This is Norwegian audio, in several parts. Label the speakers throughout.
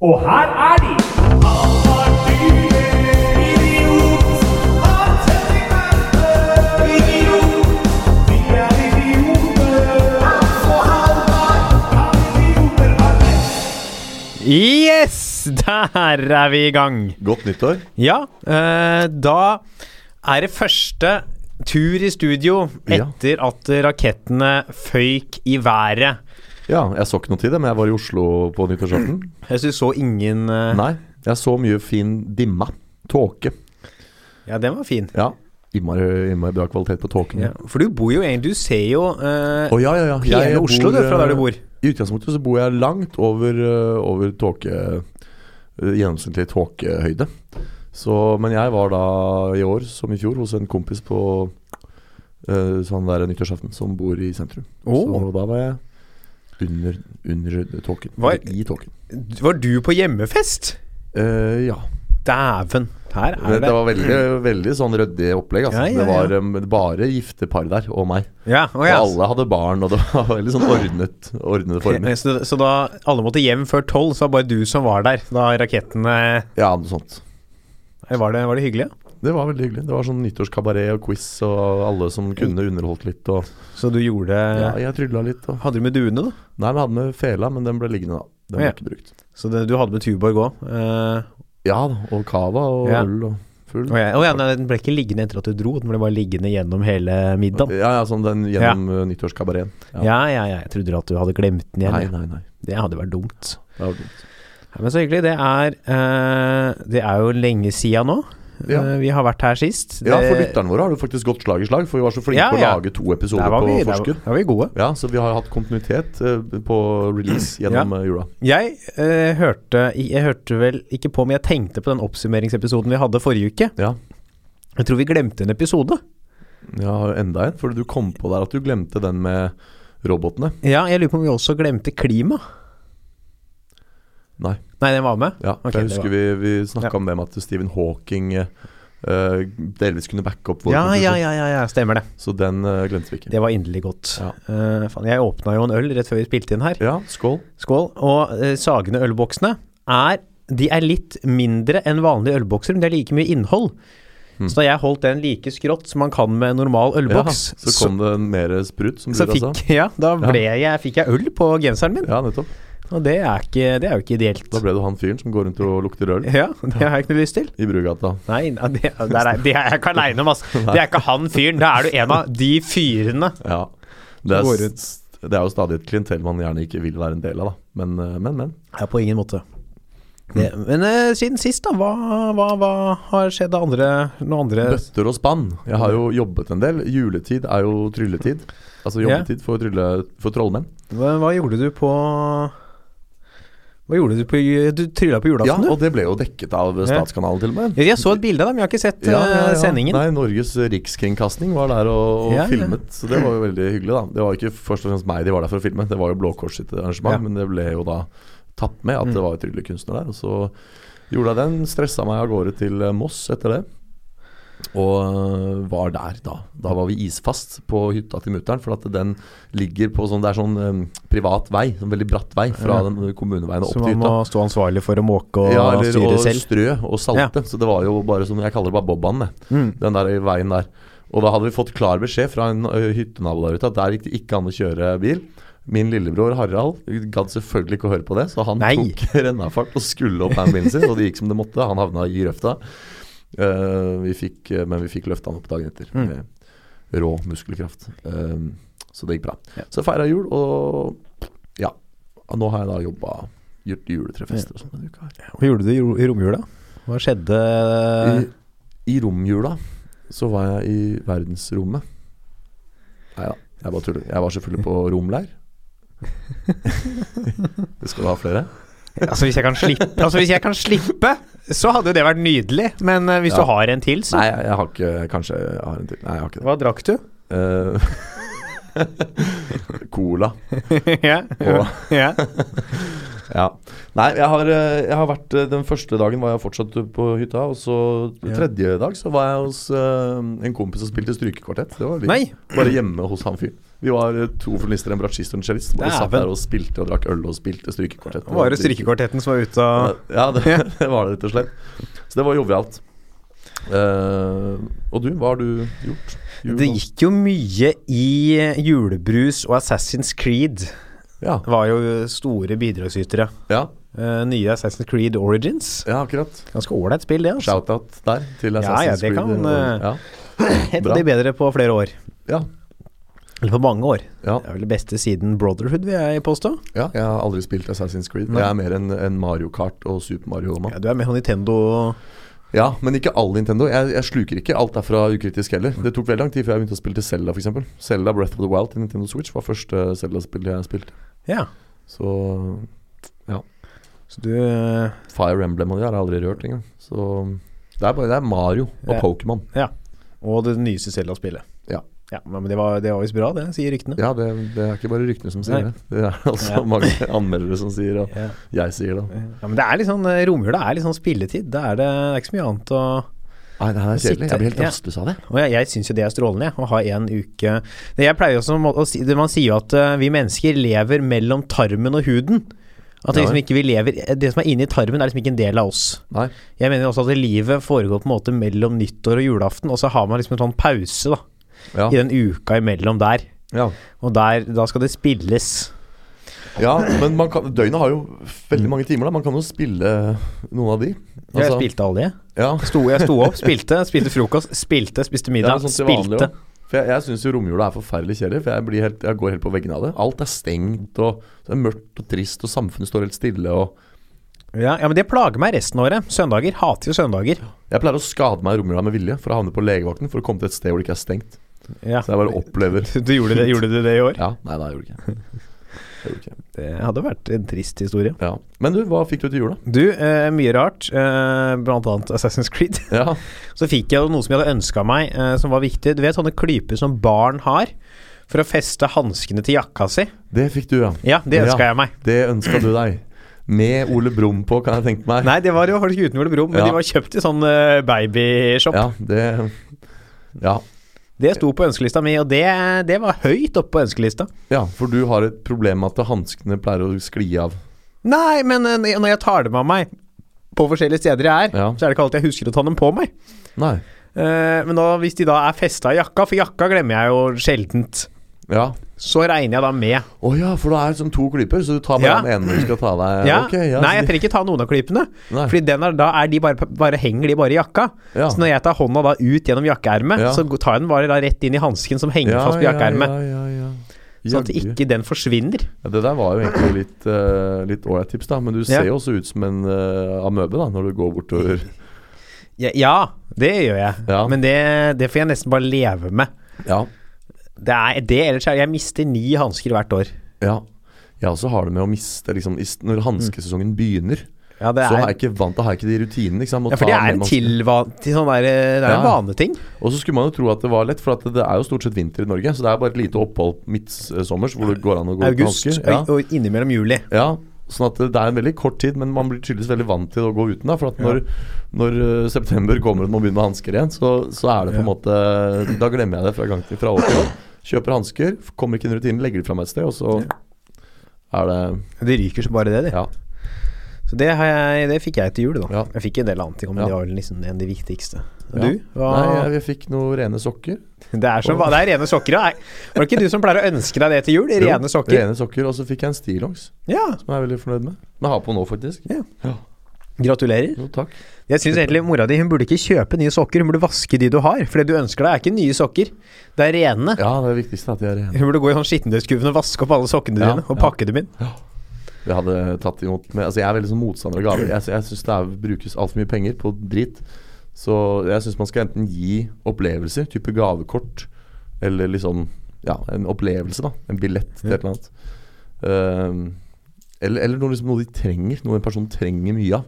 Speaker 1: Og her er de!
Speaker 2: Yes! Der er vi i gang.
Speaker 3: Godt nyttår.
Speaker 2: Ja, eh, da er det første tur i studio
Speaker 3: Ja.
Speaker 2: etter at rakettene føyk i været.
Speaker 3: Ja, jeg så ikke noe til det, men jeg var i Oslo på nyttårsaften.
Speaker 2: Jeg synes så ingen eh,
Speaker 3: Nei, jeg så mye fin dimma. Tåke.
Speaker 2: Ja, den var fin.
Speaker 3: Ja. Innmari, innmari bra kvalitet på tåken. Å
Speaker 2: Ja, for du bor jo egentlig Du ser jo eh,
Speaker 3: ja, ja, ja.
Speaker 2: hele Oslo, du, fra der du
Speaker 3: eh,
Speaker 2: bor.
Speaker 3: I utgangspunktet så bor jeg langt over, eh, over tåke eh, Gjennomsnittlig tåkehøyde. Så, men jeg var da i år, som i fjor, hos en kompis på eh, sånn der nyttårsaften, som bor i sentrum.
Speaker 2: Å.
Speaker 3: Så da var jeg under, under tåken.
Speaker 2: Var-
Speaker 3: eller I tåken.
Speaker 2: Var du på hjemmefest?
Speaker 3: Eh, ja.
Speaker 2: Dæven. Her
Speaker 3: Det,
Speaker 2: er det.
Speaker 3: var veldig, veldig sånn ryddig opplegg. Altså.
Speaker 2: Ja, ja,
Speaker 3: Det var
Speaker 2: ja.
Speaker 3: um, bare gifte par der, og meg.
Speaker 2: Ja, å
Speaker 3: Og
Speaker 2: ja.
Speaker 3: alle hadde barn, og det var veldig sånn ordnet, ordnede former.
Speaker 2: Så, så da alle måtte hjem før tolv, så var bare du som var der da rakettene
Speaker 3: Ja, noe sånt.
Speaker 2: Var det, var det hyggelig? ja?
Speaker 3: Det var veldig hyggelig. Det var sånn nyttårskabaret og quiz, og alle som kunne underholdt litt. Og
Speaker 2: Så du gjorde
Speaker 3: ja, jeg trylla litt. Og.
Speaker 2: Hadde du med duene, da?
Speaker 3: Nei, vi hadde med fela, men den ble liggende, da. Den
Speaker 2: Ja.
Speaker 3: ble ikke brukt.
Speaker 2: Så det, du hadde med Tuborg eh. òg?
Speaker 3: Ja da, og cava og
Speaker 2: Ja.
Speaker 3: øl og full.
Speaker 2: Å ja, å ja nei, den ble ikke liggende etter at du dro, den ble bare liggende gjennom hele middagen.
Speaker 3: Ja, ja, sånn den gjennom uh, nyttårskabareten.
Speaker 2: Ja. ja, ja, jeg trodde at du hadde glemt den igjen.
Speaker 3: Nei,
Speaker 2: ja.
Speaker 3: nei, nei.
Speaker 2: Det hadde vært dumt.
Speaker 3: Det var dumt.
Speaker 2: Ja, men så hyggelig. Det er, eh, det er jo lenge sia nå.
Speaker 3: Ja.
Speaker 2: Eh, vi har vært her sist.
Speaker 3: Ja, for
Speaker 2: Det-
Speaker 3: lytterne våre har det faktisk gått slag i slag, for vi var så flinke
Speaker 2: Ja,
Speaker 3: på å
Speaker 2: ja.
Speaker 3: lage to
Speaker 2: Der
Speaker 3: episoder
Speaker 2: var, vi,
Speaker 3: på
Speaker 2: der, var-
Speaker 3: forskudd.
Speaker 2: der var vi gode.
Speaker 3: Ja, så vi har hatt kontinuitet eh, på release gjennom eh, jula.
Speaker 2: Jeg eh, hørte Jeg hørte vel ikke på, men jeg tenkte på den oppsummeringsepisoden vi hadde forrige uke.
Speaker 3: Ja.
Speaker 2: Jeg tror vi glemte en episode.
Speaker 3: Jeg har enda en, for du kom på der at du glemte den med robotene.
Speaker 2: Ja, jeg lurer på om vi også glemte klima.
Speaker 3: Nei.
Speaker 2: Nei, den var med.
Speaker 3: Ja, for
Speaker 2: Ok,
Speaker 3: jeg
Speaker 2: det
Speaker 3: husker vi, vi snakka om det med at Stephen Hawking eh, eh, delvis kunne backe opp vår
Speaker 2: Ja, ja,
Speaker 3: konklusjon.
Speaker 2: ja, ja, ja, stemmer det.
Speaker 3: Så den eh, glemte vi ikke.
Speaker 2: Det var inderlig godt.
Speaker 3: Ja.
Speaker 2: Eh, faen, jeg åpna jo en øl rett før vi spilte inn her.
Speaker 3: Ja, skål.
Speaker 2: Skål. Og eh, Sagene ølboksene er De er litt mindre enn vanlige ølbokser, men de har like mye innhold.
Speaker 3: Hmm.
Speaker 2: Så da jeg holdt den like skrått som man kan med en normal
Speaker 3: Ja,
Speaker 2: ølboks,
Speaker 3: så kom altså? det mer sprut, som
Speaker 2: så,
Speaker 3: du sa.
Speaker 2: fikk, ja, da ble jeg, fikk jeg øl på genseren min.
Speaker 3: Ja, nettopp.
Speaker 2: Og det er, ikke, det er jo ikke ideelt.
Speaker 3: Da ble du han fyren som går rundt og lukter øl
Speaker 2: Ja, det har jeg ikke noe lyst til.
Speaker 3: i Brugata.
Speaker 2: Nei, nei, det, der er, det er jeg ikke aleine om, altså. Det er ikke han fyren. Da er du en av de fyrene.
Speaker 3: Ja. Det
Speaker 2: går
Speaker 3: er,
Speaker 2: rundt.
Speaker 3: s- det er jo stadig et klientell man gjerne ikke vil være en del av, da. Men, eh, men, men.
Speaker 2: Ja, på ingen måte. Det, men eh, siden sist, da. Hva, hva, hva har skjedd av andre, noe andre
Speaker 3: Bøtter og spann. Jeg har
Speaker 2: Mm.
Speaker 3: jo jobbet en del. Juletid er jo trylletid. Altså
Speaker 2: Ja.
Speaker 3: jobbetid for, trylle, for trollmenn.
Speaker 2: hva, hva gjorde du på Hva gjorde du på ju- Du trylla på
Speaker 3: Ja,
Speaker 2: julaften,
Speaker 3: og det ble jo dekket av Statskanalen til og med.
Speaker 2: du? Jeg så et bilde av dem, jeg har ikke sett eh,
Speaker 3: Ja, ja, ja.
Speaker 2: sendingen.
Speaker 3: Nei, Norges rikskringkasting var der og, og
Speaker 2: Ja, ja.
Speaker 3: filmet, så det var jo veldig hyggelig, da. Det var ikke først og fremst meg de var der for å filme, det var jo Blå Kors sitt arrangement,
Speaker 2: Ja. Mm.
Speaker 3: men det ble jo da tatt med at det var tryllekunstner der. Og så gjorde jeg den, stressa meg av gårde til eh, Moss etter det. Og øh, var der da. Da var vi isfast på hytta til mutter'n. For at den ligger på sånn Det er sånn øhm, privat vei, sånn veldig bratt vei fra den øh, kommuneveien og
Speaker 2: Så
Speaker 3: opp til
Speaker 2: man må
Speaker 3: hytta.
Speaker 2: stå ansvarlig for å måke og
Speaker 3: Ja, eller
Speaker 2: styre
Speaker 3: å
Speaker 2: selv.
Speaker 3: strø og salte. Så det var jo bare som Jeg kaller det bare Bobbanen, jeg. Den der veien der. Og da hadde vi fått klar beskjed fra en ø, hyttenabo der ute at der gikk det ikke an å kjøre bil. Min lillebror Harald gadd selvfølgelig ikke å høre på det, så han
Speaker 2: Nei.
Speaker 3: tok rennafart og skulle opp med bilen sin, og det gikk som det måtte. Han havna i grøfta. Eh, vi fikk, eh, men vi fikk løfta han opp dagen etter med rå muskelkraft. Eh, så det gikk bra. Så feira jul, og ja. Nå har jeg da jobba, gjort juletrefester og sånn denne uka her.
Speaker 2: Hva gjorde du i ro- i romjula? Hva skjedde eh,
Speaker 3: I, I romjula så var jeg i verdensrommet. Nei da, jeg bare tuller. Jeg var selvfølgelig på romleir. Det skal du ha flere?
Speaker 2: Altså hvis, jeg kan slippe, altså, hvis jeg kan slippe, så hadde jo det vært nydelig. Men eh, hvis
Speaker 3: Ja.
Speaker 2: du har en til, så
Speaker 3: Nei, jeg, jeg har ikke Kanskje jeg har en til. Nei, jeg har ikke det.
Speaker 2: Hva drakk du?
Speaker 3: Eh, cola.
Speaker 2: ja.
Speaker 3: Og,
Speaker 2: ja.
Speaker 3: Ja. Nei, jeg har, eh, jeg har vært eh, Den første dagen var jeg fortsatt på hytta. Og så
Speaker 2: Ja.
Speaker 3: tredje dag så var jeg hos eh, en kompis som spilte strykekvartett. Det var litt,
Speaker 2: Nei!
Speaker 3: Bare hjemme hos han fyren. Vi var eh, to forlister, en bratsjist og en cellist. Bare satt
Speaker 2: Dæven.
Speaker 3: der og spilte og drakk øl og spilte strykekvartett.
Speaker 2: Var det strykekvartetten som var ute av
Speaker 3: Ja, det, det var det rett og slett. Så det var jovialt. Eh, og du, hva har du gjort? Jul,
Speaker 2: Det
Speaker 3: da?
Speaker 2: gikk jo mye i eh, julebrus og Assassin's Creed
Speaker 3: Ja,
Speaker 2: var jo eh, store bidragsytere.
Speaker 3: ja,
Speaker 2: Eh, nye Assassin's Creed Origins.
Speaker 3: ja akkurat.
Speaker 2: Ganske ålreit spill, det. altså.
Speaker 3: Shout-out der til
Speaker 2: Ja, ja,
Speaker 3: Assassin's
Speaker 2: det
Speaker 3: Creed.
Speaker 2: kan, eh,
Speaker 3: ja.
Speaker 2: Et
Speaker 3: bra.
Speaker 2: av de bedre på flere år.
Speaker 3: Ja.
Speaker 2: Eller på mange år.
Speaker 3: Ja.
Speaker 2: Det er vel det beste siden Brotherhood, vil jeg påstå.
Speaker 3: Ja, jeg har aldri spilt Assassin's Creed.
Speaker 2: Nei.
Speaker 3: Jeg er mer en, en Mario Kart og Super Mario-mann.
Speaker 2: Ja, du er med på Nintendo
Speaker 3: Ja, men ikke all Nintendo. Jeg, jeg sluker ikke alt derfra ukritisk heller. Det tok veldig lang tid før jeg begynte å spille til Zelda, f.eks. Zelda Breath of the Wild til Nintendo Switch var første Zelda-spill jeg spilte.
Speaker 2: Ja.
Speaker 3: Så
Speaker 2: Så du eh,
Speaker 3: Fire Emblem og de har jeg aldri rørt engang. Så det er bare det er Mario og
Speaker 2: Ja.
Speaker 3: Pokémon.
Speaker 2: Og det nyeste Zelda-spillet.
Speaker 3: Ja.
Speaker 2: ja. Men det var, det var visst bra, det, sier ryktene.
Speaker 3: Ja, det, det er ikke bare ryktene som sier
Speaker 2: Nei.
Speaker 3: det. Det er altså
Speaker 2: Ja.
Speaker 3: mange anmeldere som sier, og
Speaker 2: Ja.
Speaker 3: jeg sier det.
Speaker 2: Ja, men det er litt sånn eh, Romjula er litt sånn spilletid. Da er det, det er ikke så mye annet å
Speaker 3: Nei, det her er
Speaker 2: Sitter-
Speaker 3: kjedelig. Jeg blir helt
Speaker 2: ja.
Speaker 3: rastløs av det.
Speaker 2: Og jeg, jeg syns jo det er strålende, jeg, å ha én uke Det Jeg pleier også å må- å si det- Man sier jo at eh, vi mennesker lever mellom tarmen og huden. At det,
Speaker 3: Ja,
Speaker 2: liksom ikke vi lever, det som er inni tarmen, er liksom ikke en del av oss.
Speaker 3: Nei.
Speaker 2: Jeg mener også at livet foregår på en måte mellom nyttår og julaften, og så har man liksom en sånn pause da,
Speaker 3: Ja.
Speaker 2: i den uka imellom der.
Speaker 3: ja.
Speaker 2: Og der, da skal det spilles.
Speaker 3: Ja, men man kan, døgnet har jo veldig mange timer. da Man kan jo spille noen av de.
Speaker 2: Jeg
Speaker 3: Altså,
Speaker 2: spilte alle, jeg.
Speaker 3: Ja,
Speaker 2: Sto, jeg sto opp, spilte, spilte frokost, spilte, spiste
Speaker 3: det er
Speaker 2: middag,
Speaker 3: sånn til vanlig
Speaker 2: spilte.
Speaker 3: også. For Jeg, jeg syns jo romjula er forferdelig kjedelig. For jeg, blir helt, jeg går helt på veggen av det. Alt er stengt, og det er mørkt og trist, og samfunnet står helt stille. Og
Speaker 2: Ja, ja, men det plager meg resten av året. Søndager. Hater jo søndager.
Speaker 3: jeg pleier å skade meg i romjula med vilje for å havne på legevakten for å komme til et sted hvor det ikke er stengt.
Speaker 2: Ja.
Speaker 3: Så jeg bare opplever
Speaker 2: Du gjorde det, gjorde du det i år?
Speaker 3: Ja, nei, nei, jeg gjorde ikke det. Jeg gjorde ikke det.
Speaker 2: Det hadde vært en trist historie.
Speaker 3: Ja. Men du, hva fikk du til jul, da?
Speaker 2: Du, eh, mye rart, eh, blant annet Assassin's Creed.
Speaker 3: Ja,
Speaker 2: Så fikk jeg jo noe som jeg hadde ønska meg, eh, som var viktig. Du vet sånne klyper som barn har for å feste hanskene til jakka si?
Speaker 3: det fikk du, ja.
Speaker 2: Ja, det ønska
Speaker 3: Ja.
Speaker 2: jeg meg.
Speaker 3: Det ønska du deg. Med Ole Brumm på, kan jeg tenke meg.
Speaker 2: Nei, det var jo faktisk uten Ole Brumm, men
Speaker 3: Ja.
Speaker 2: de var kjøpt i sånn eh, babyshop.
Speaker 3: Ja, det Ja.
Speaker 2: Det sto på ønskelista mi, og det, det var høyt oppe på ønskelista.
Speaker 3: Ja, for du har et problem med at hanskene pleier å skli av.
Speaker 2: Nei, men eh, når jeg tar dem av meg på forskjellige steder jeg er,
Speaker 3: Ja.
Speaker 2: så er det ikke alltid jeg husker å ta dem på meg.
Speaker 3: Nei.
Speaker 2: Eh, men da, hvis de da er festa i jakka, for jakka glemmer jeg jo sjeldent,
Speaker 3: Ja.
Speaker 2: så regner jeg da med.
Speaker 3: Å ja, for da er det som to klyper, så du tar bare
Speaker 2: Ja.
Speaker 3: den ene du skal ta deg
Speaker 2: Ja.
Speaker 3: Ok, ja,
Speaker 2: Nei,
Speaker 3: så
Speaker 2: jeg trenger ikke ta noen av klypene.
Speaker 3: de- nei.
Speaker 2: Fordi den er, da er de bare, bare henger de bare i jakka.
Speaker 3: ja.
Speaker 2: Så når jeg tar hånda da ut gjennom jakkeermet,
Speaker 3: Ja.
Speaker 2: så go- tar jeg den bare da rett inn i hansken som henger
Speaker 3: ja,
Speaker 2: fast på jakkeermet.
Speaker 3: Ja, ja, ja, ja.
Speaker 2: Sånn at
Speaker 3: Jaggu.
Speaker 2: ikke den forsvinner.
Speaker 3: ja, Det der var jo egentlig litt, uh, litt ålreit tips, da. Men du
Speaker 2: Ja.
Speaker 3: ser jo også ut som en eh, amøbe da, når du går bortover.
Speaker 2: Ja, ja det gjør jeg.
Speaker 3: Ja.
Speaker 2: Men det, det får jeg nesten bare leve med.
Speaker 3: Ja.
Speaker 2: Det er det, ellers er Jeg mister ni hansker hvert år.
Speaker 3: ja. Jeg også har det med å miste liksom, i s- Når hanskesesongen begynner,
Speaker 2: Ja, Mm. det
Speaker 3: så
Speaker 2: er,
Speaker 3: er jeg ikke vant Da har jeg ikke de rutinene. Ikke sant? med å
Speaker 2: ja, for det
Speaker 3: ta
Speaker 2: er
Speaker 3: med
Speaker 2: en
Speaker 3: hansker.
Speaker 2: tilva... Til sånn der, eh, det er en
Speaker 3: Ja.
Speaker 2: vaneting.
Speaker 3: Og så skulle man jo tro at det var lett, for at det er jo stort sett vinter i Norge. Så det er bare et lite opphold midtsommers hvor det går an å gå uten
Speaker 2: August
Speaker 3: hansker. Ja.
Speaker 2: og- og innimellom juli.
Speaker 3: ja, Sånn at det er en veldig kort tid, men man blir tydeligvis veldig vant til å gå uten. da For at når, når eh, september kommer og man begynner med hansker igjen, så, så er det på en
Speaker 2: Ja.
Speaker 3: måte Da glemmer jeg det fra gang til fra år til år. Kjøper hansker, f- kommer ikke inn i rutinen, legger de fra meg et sted, og så er det
Speaker 2: Det ryker så bare det, det.
Speaker 3: Ja.
Speaker 2: Så det, har jeg, det fikk jeg til jul, da.
Speaker 3: Ja.
Speaker 2: Jeg fikk en del annet, ting, men
Speaker 3: Ja.
Speaker 2: det var vel liksom en av de viktigste.
Speaker 3: Ja.
Speaker 2: Og Du? Hva?
Speaker 3: Nei, jeg, jeg fikk noen rene sokker.
Speaker 2: Det, er som, det er rene sokker. ja. Var det ikke du som pleier å ønske deg det til jul?
Speaker 3: Jo,
Speaker 2: Rene sokker.
Speaker 3: Rene sokker Og så fikk jeg en stillongs,
Speaker 2: Ja,
Speaker 3: som jeg er veldig fornøyd med. Som jeg har på nå, faktisk.
Speaker 2: gratulerer.
Speaker 3: Jo, takk.
Speaker 2: Jeg syns egentlig mora di hun burde ikke kjøpe nye sokker, hun burde vaske de du har. For det du ønsker deg, er ikke nye sokker, det er rene.
Speaker 3: Ja, det er viktigste er at de er rene.
Speaker 2: Hun burde gå i sånn skittentøyskurven og vaske opp alle sokkene
Speaker 3: Ja,
Speaker 2: dine, og
Speaker 3: ja.
Speaker 2: pakke dem inn.
Speaker 3: Det hadde tatt imot med, altså Jeg er veldig sånn motstander av gaver. Jeg, jeg syns det er, brukes altfor mye penger på drit. Så jeg syns man skal enten gi opplevelser, type gavekort, eller liksom Ja, en opplevelse, da. En billett til et eller annet. Ehm, eller eller noe, liksom, noe de trenger. Noe en person trenger mye av.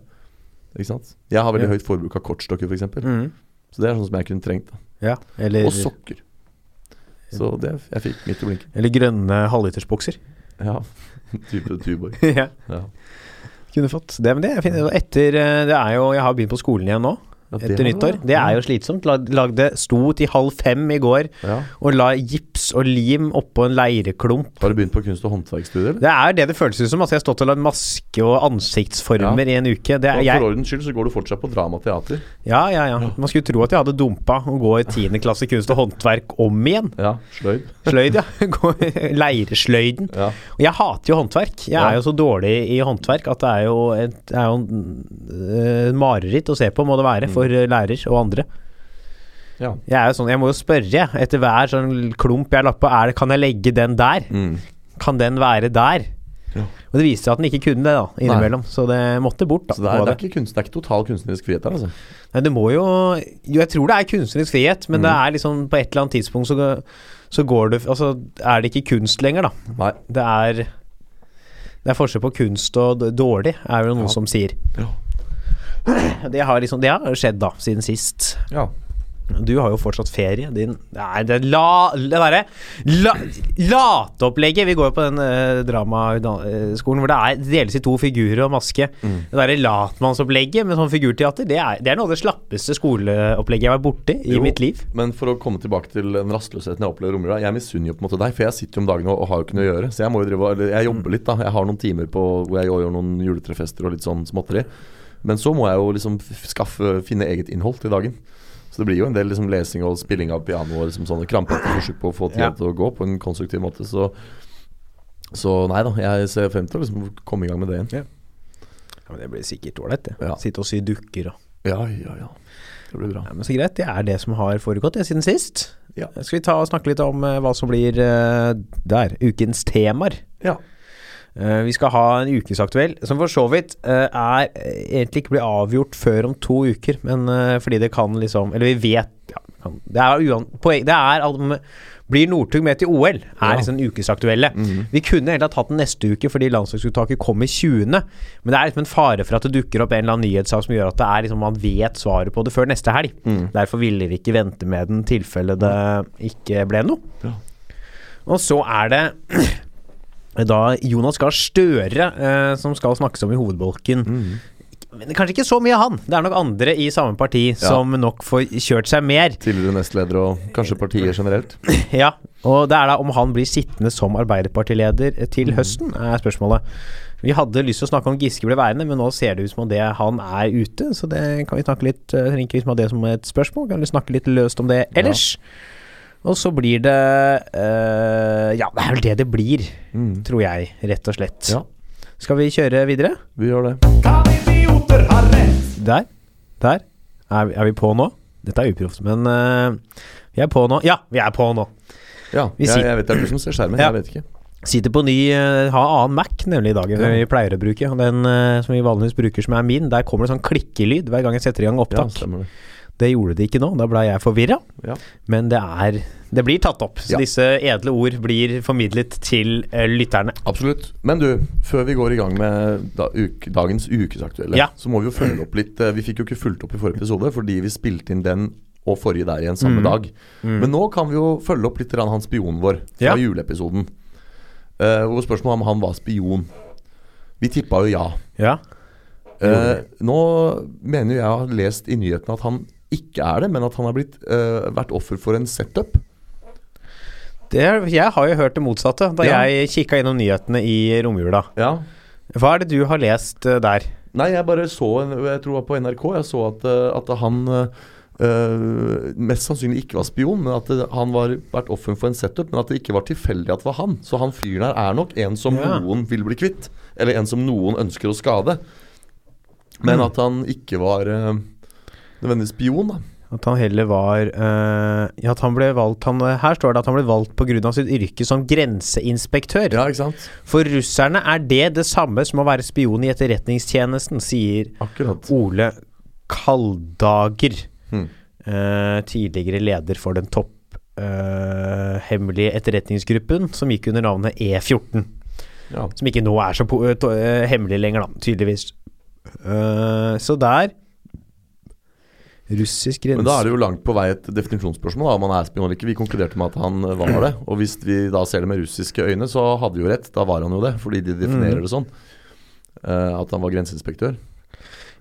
Speaker 3: Ikke sant? Jeg har veldig
Speaker 2: Ja.
Speaker 3: høyt forbruk av kortstokker, f.eks. eksempel
Speaker 2: Mm.
Speaker 3: Så det er sånn som jeg kunne trengt. Da.
Speaker 2: Ja, eller,
Speaker 3: Og sokker. Så det jeg fikk midt i blinken.
Speaker 2: eller grønne halvlitersbukser.
Speaker 3: Ja. Type Tuborg.
Speaker 2: ja.
Speaker 3: Ja.
Speaker 2: Kunne fått det, men det er fint. Og Etter, eh, det er jo, jeg har begynt på skolen igjen nå,
Speaker 3: Ja, det
Speaker 2: etter
Speaker 3: har du,
Speaker 2: nyttår.
Speaker 3: ja.
Speaker 2: Det er jo slitsomt. Lag- Lagde, sto til halv fem i går
Speaker 3: Ja.
Speaker 2: og la gips og lim oppå en leireklump.
Speaker 3: Har du begynt på kunst- og håndverksstudier? eller?
Speaker 2: Det er det det føles ut som. Altså, jeg har stått og lagd maske og ansiktsformer i en uke. Det er,
Speaker 3: Og
Speaker 2: jeg,
Speaker 3: For ordens skyld så går du fortsatt på dramateater.
Speaker 2: ja, ja, ja. Man skulle tro at jeg hadde dumpa å gå i tiende klasse kunst og håndverk om igjen.
Speaker 3: Ja, sløyd.
Speaker 2: Sløyd, ja. Gå i Leiresløyden.
Speaker 3: Ja.
Speaker 2: Og jeg hater jo håndverk. Jeg
Speaker 3: Ja.
Speaker 2: er jo så dårlig i håndverk at det er jo et det er jo en, øh, mareritt å se på, må det
Speaker 3: Mm.
Speaker 2: være, for øh, lærer og andre.
Speaker 3: ja.
Speaker 2: Jeg er jo sånn, jeg må jo spørre jeg, etter hver sånn klump jeg har lagt på, er det, kan jeg legge den der?
Speaker 3: Mm.
Speaker 2: Kan den være der?
Speaker 3: Ja.
Speaker 2: Og det viste seg at den ikke kunne det, da, innimellom. Så det måtte bort, da.
Speaker 3: Så det er,
Speaker 2: noe av
Speaker 3: det, er ikke kunst, det er ikke total kunstnerisk frihet her, altså.
Speaker 2: Nei, det må jo Jo, jeg tror det er kunstnerisk frihet, men
Speaker 3: Mm.
Speaker 2: det er liksom på et eller annet tidspunkt så, gå- så går det Altså, er det ikke kunst lenger, da.
Speaker 3: Nei.
Speaker 2: Det er Det er forskjell på kunst og d- dårlig, er det noen
Speaker 3: Ja.
Speaker 2: som sier.
Speaker 3: Ja.
Speaker 2: Det har liksom Det har skjedd, da, siden sist.
Speaker 3: Ja.
Speaker 2: Du har jo fortsatt ferie. Din Nei, det la... Det derre la, Lateopplegget! Vi går jo på den uh, dramaskolen hvor det er, det deles i to figurer og maske. Det derre latmannsopplegget med sånn figurteater, det er, det er noe av det slappeste skoleopplegget jeg har vært borti i
Speaker 3: Jo.
Speaker 2: mitt liv.
Speaker 3: Men for å komme tilbake til den rastløsheten jeg opplever i romjula Jeg misunner jo på en måte deg, for jeg sitter jo om dagen og, og har jo ikke noe å gjøre. Så jeg må jo drive og- Eller jeg
Speaker 2: Mm.
Speaker 3: jobber litt, da. Jeg har noen timer på hvor jeg gjør noen juletrefester og litt sånn småtteri. Men så må jeg jo liksom f- skaffe, finne eget innhold til dagen. Så det blir jo en del liksom lesing og spilling av piano og liksom sånne krampete forsøk på å få tida
Speaker 2: Ja.
Speaker 3: til å gå på en konstruktiv måte. Så, så nei da, jeg ser frem til å liksom komme i gang med det igjen.
Speaker 2: Ja, men Det blir sikkert ålreit, det.
Speaker 3: Ja.
Speaker 2: Sitte og sy dukker og
Speaker 3: Ja, ja, ja. Det blir bra.
Speaker 2: Nei, men Så greit, det er det som har foregått det, siden sist.
Speaker 3: Ja.
Speaker 2: Skal vi ta og snakke litt om eh, hva som blir eh, der? Ukens temaer.
Speaker 3: Ja.
Speaker 2: Eh, vi skal ha en ukesaktuell, som for så vidt eh, er egentlig ikke blir avgjort før om to uker. Men eh, fordi det kan liksom Eller vi vet ja, kan, Det er uan, poeng Det er om Blir Northug med til OL? Er
Speaker 3: Ja.
Speaker 2: liksom den ukesaktuelle. Vi kunne egentlig ha tatt den neste uke fordi landslagsuttaket kom i 20. Men det er liksom en fare for at det dukker opp en eller annen nyhetssak som gjør at det er liksom man vet svaret på det før neste helg. Derfor ville vi ikke vente med den tilfelle det ikke ble noe.
Speaker 3: Ja.
Speaker 2: Og så er det da Jonas Gahr Støre eh, som skal snakkes om i hovedbolken. Men kanskje ikke så mye han. Det er nok andre i samme parti som nok får kjørt seg mer.
Speaker 3: Tidligere nestleder og kanskje partier generelt.
Speaker 2: ja, Og det er da om han blir sittende som Arbeiderpartileder til høsten, er spørsmålet. Vi hadde lyst til å snakke om Giske ble værende, men nå ser det ut som om det han er ute. Så det kan vi snakke litt eh, trenger ikke vi som har det som et spørsmål, kan vi snakke litt løst om det ellers. Og så blir det eh, Ja, det er vel det det blir, tror jeg, rett og slett.
Speaker 3: Ja,
Speaker 2: Skal vi kjøre videre?
Speaker 3: vi gjør det.
Speaker 2: Der. Der. Er, er vi på nå? Dette er uproft, men eh, vi er på nå. Ja, vi er på nå.
Speaker 3: Ja,
Speaker 2: Vi
Speaker 3: jeg,
Speaker 2: sit-
Speaker 3: jeg vet det er du som ser skjermen.
Speaker 2: Ja.
Speaker 3: Jeg vet ikke.
Speaker 2: Sitter på ny eh, Har annen Mac nemlig i dag enn
Speaker 3: Ja.
Speaker 2: vi pleier å bruke. Og Den eh, som vi vanligvis bruker, som er min, der kommer det sånn klikkelyd hver gang jeg setter i gang
Speaker 3: Ja,
Speaker 2: opptak.
Speaker 3: stemmer det.
Speaker 2: det gjorde det ikke nå. Da ble jeg forvirra.
Speaker 3: Ja.
Speaker 2: Men det er Det blir tatt opp. Så
Speaker 3: Ja.
Speaker 2: disse edle ord blir formidlet til eh, lytterne.
Speaker 3: Absolutt. Men du, før vi går i gang med da, uke, dagens ukesaktuelle,
Speaker 2: Ja.
Speaker 3: så må vi jo følge opp litt. eh, Vi fikk jo ikke fulgt opp i forrige episode fordi vi spilte inn den og forrige der igjen samme dag. Men nå kan vi jo følge opp litt grann han spionen vår fra
Speaker 2: Ja.
Speaker 3: juleepisoden. Eh, hvor spørsmålet om han var spion. Vi tippa jo ja.
Speaker 2: Ja.
Speaker 3: Eh, nå mener jo jeg har lest i nyhetene at han ikke er det, men at han har blitt, eh, vært offer for en setup.
Speaker 2: Det, er- jeg har jo hørt det motsatte da
Speaker 3: Ja.
Speaker 2: jeg kikka innom nyhetene i romjula.
Speaker 3: Ja,
Speaker 2: Hva er det du har lest eh, der?
Speaker 3: Nei, jeg bare så en, Jeg tror det var på NRK Jeg så at, eh, at han eh, eh, mest sannsynlig ikke var spion, men at det, han var vært offer for en setup. Men at det ikke var tilfeldig at det var han. Så han fyren her er nok en som
Speaker 2: Ja.
Speaker 3: noen vil bli kvitt. Eller en som noen ønsker å skade. Men at han ikke var eh, nødvendigvis spion, da.
Speaker 2: At han heller var eh, ja, At han ble valgt han, eh, Her står det at han ble valgt pga. sitt yrke som grenseinspektør.
Speaker 3: Ja, ikke sant?
Speaker 2: For russerne er det det samme som å være spion i etterretningstjenesten, sier
Speaker 3: Akkurat.
Speaker 2: Ole Kaldager,
Speaker 3: Mm.
Speaker 2: eh, tidligere leder for den topphemmelige hemmelige etterretningsgruppen som gikk under navnet E14.
Speaker 3: Ja.
Speaker 2: Som ikke nå er så po- eh, to- eh, hemmelig lenger, da, tydeligvis. Eh, så der Russisk grense
Speaker 3: Men da er det jo langt på vei et definisjonsspørsmål da, om han er spion eller ikke. Vi konkluderte med at han eh, var det. Og
Speaker 2: Mm.
Speaker 3: hvis vi da ser det med russiske øyne, så hadde vi jo rett. Da var han jo det, fordi de definerer det sånn. eh, at han var grenseinspektør.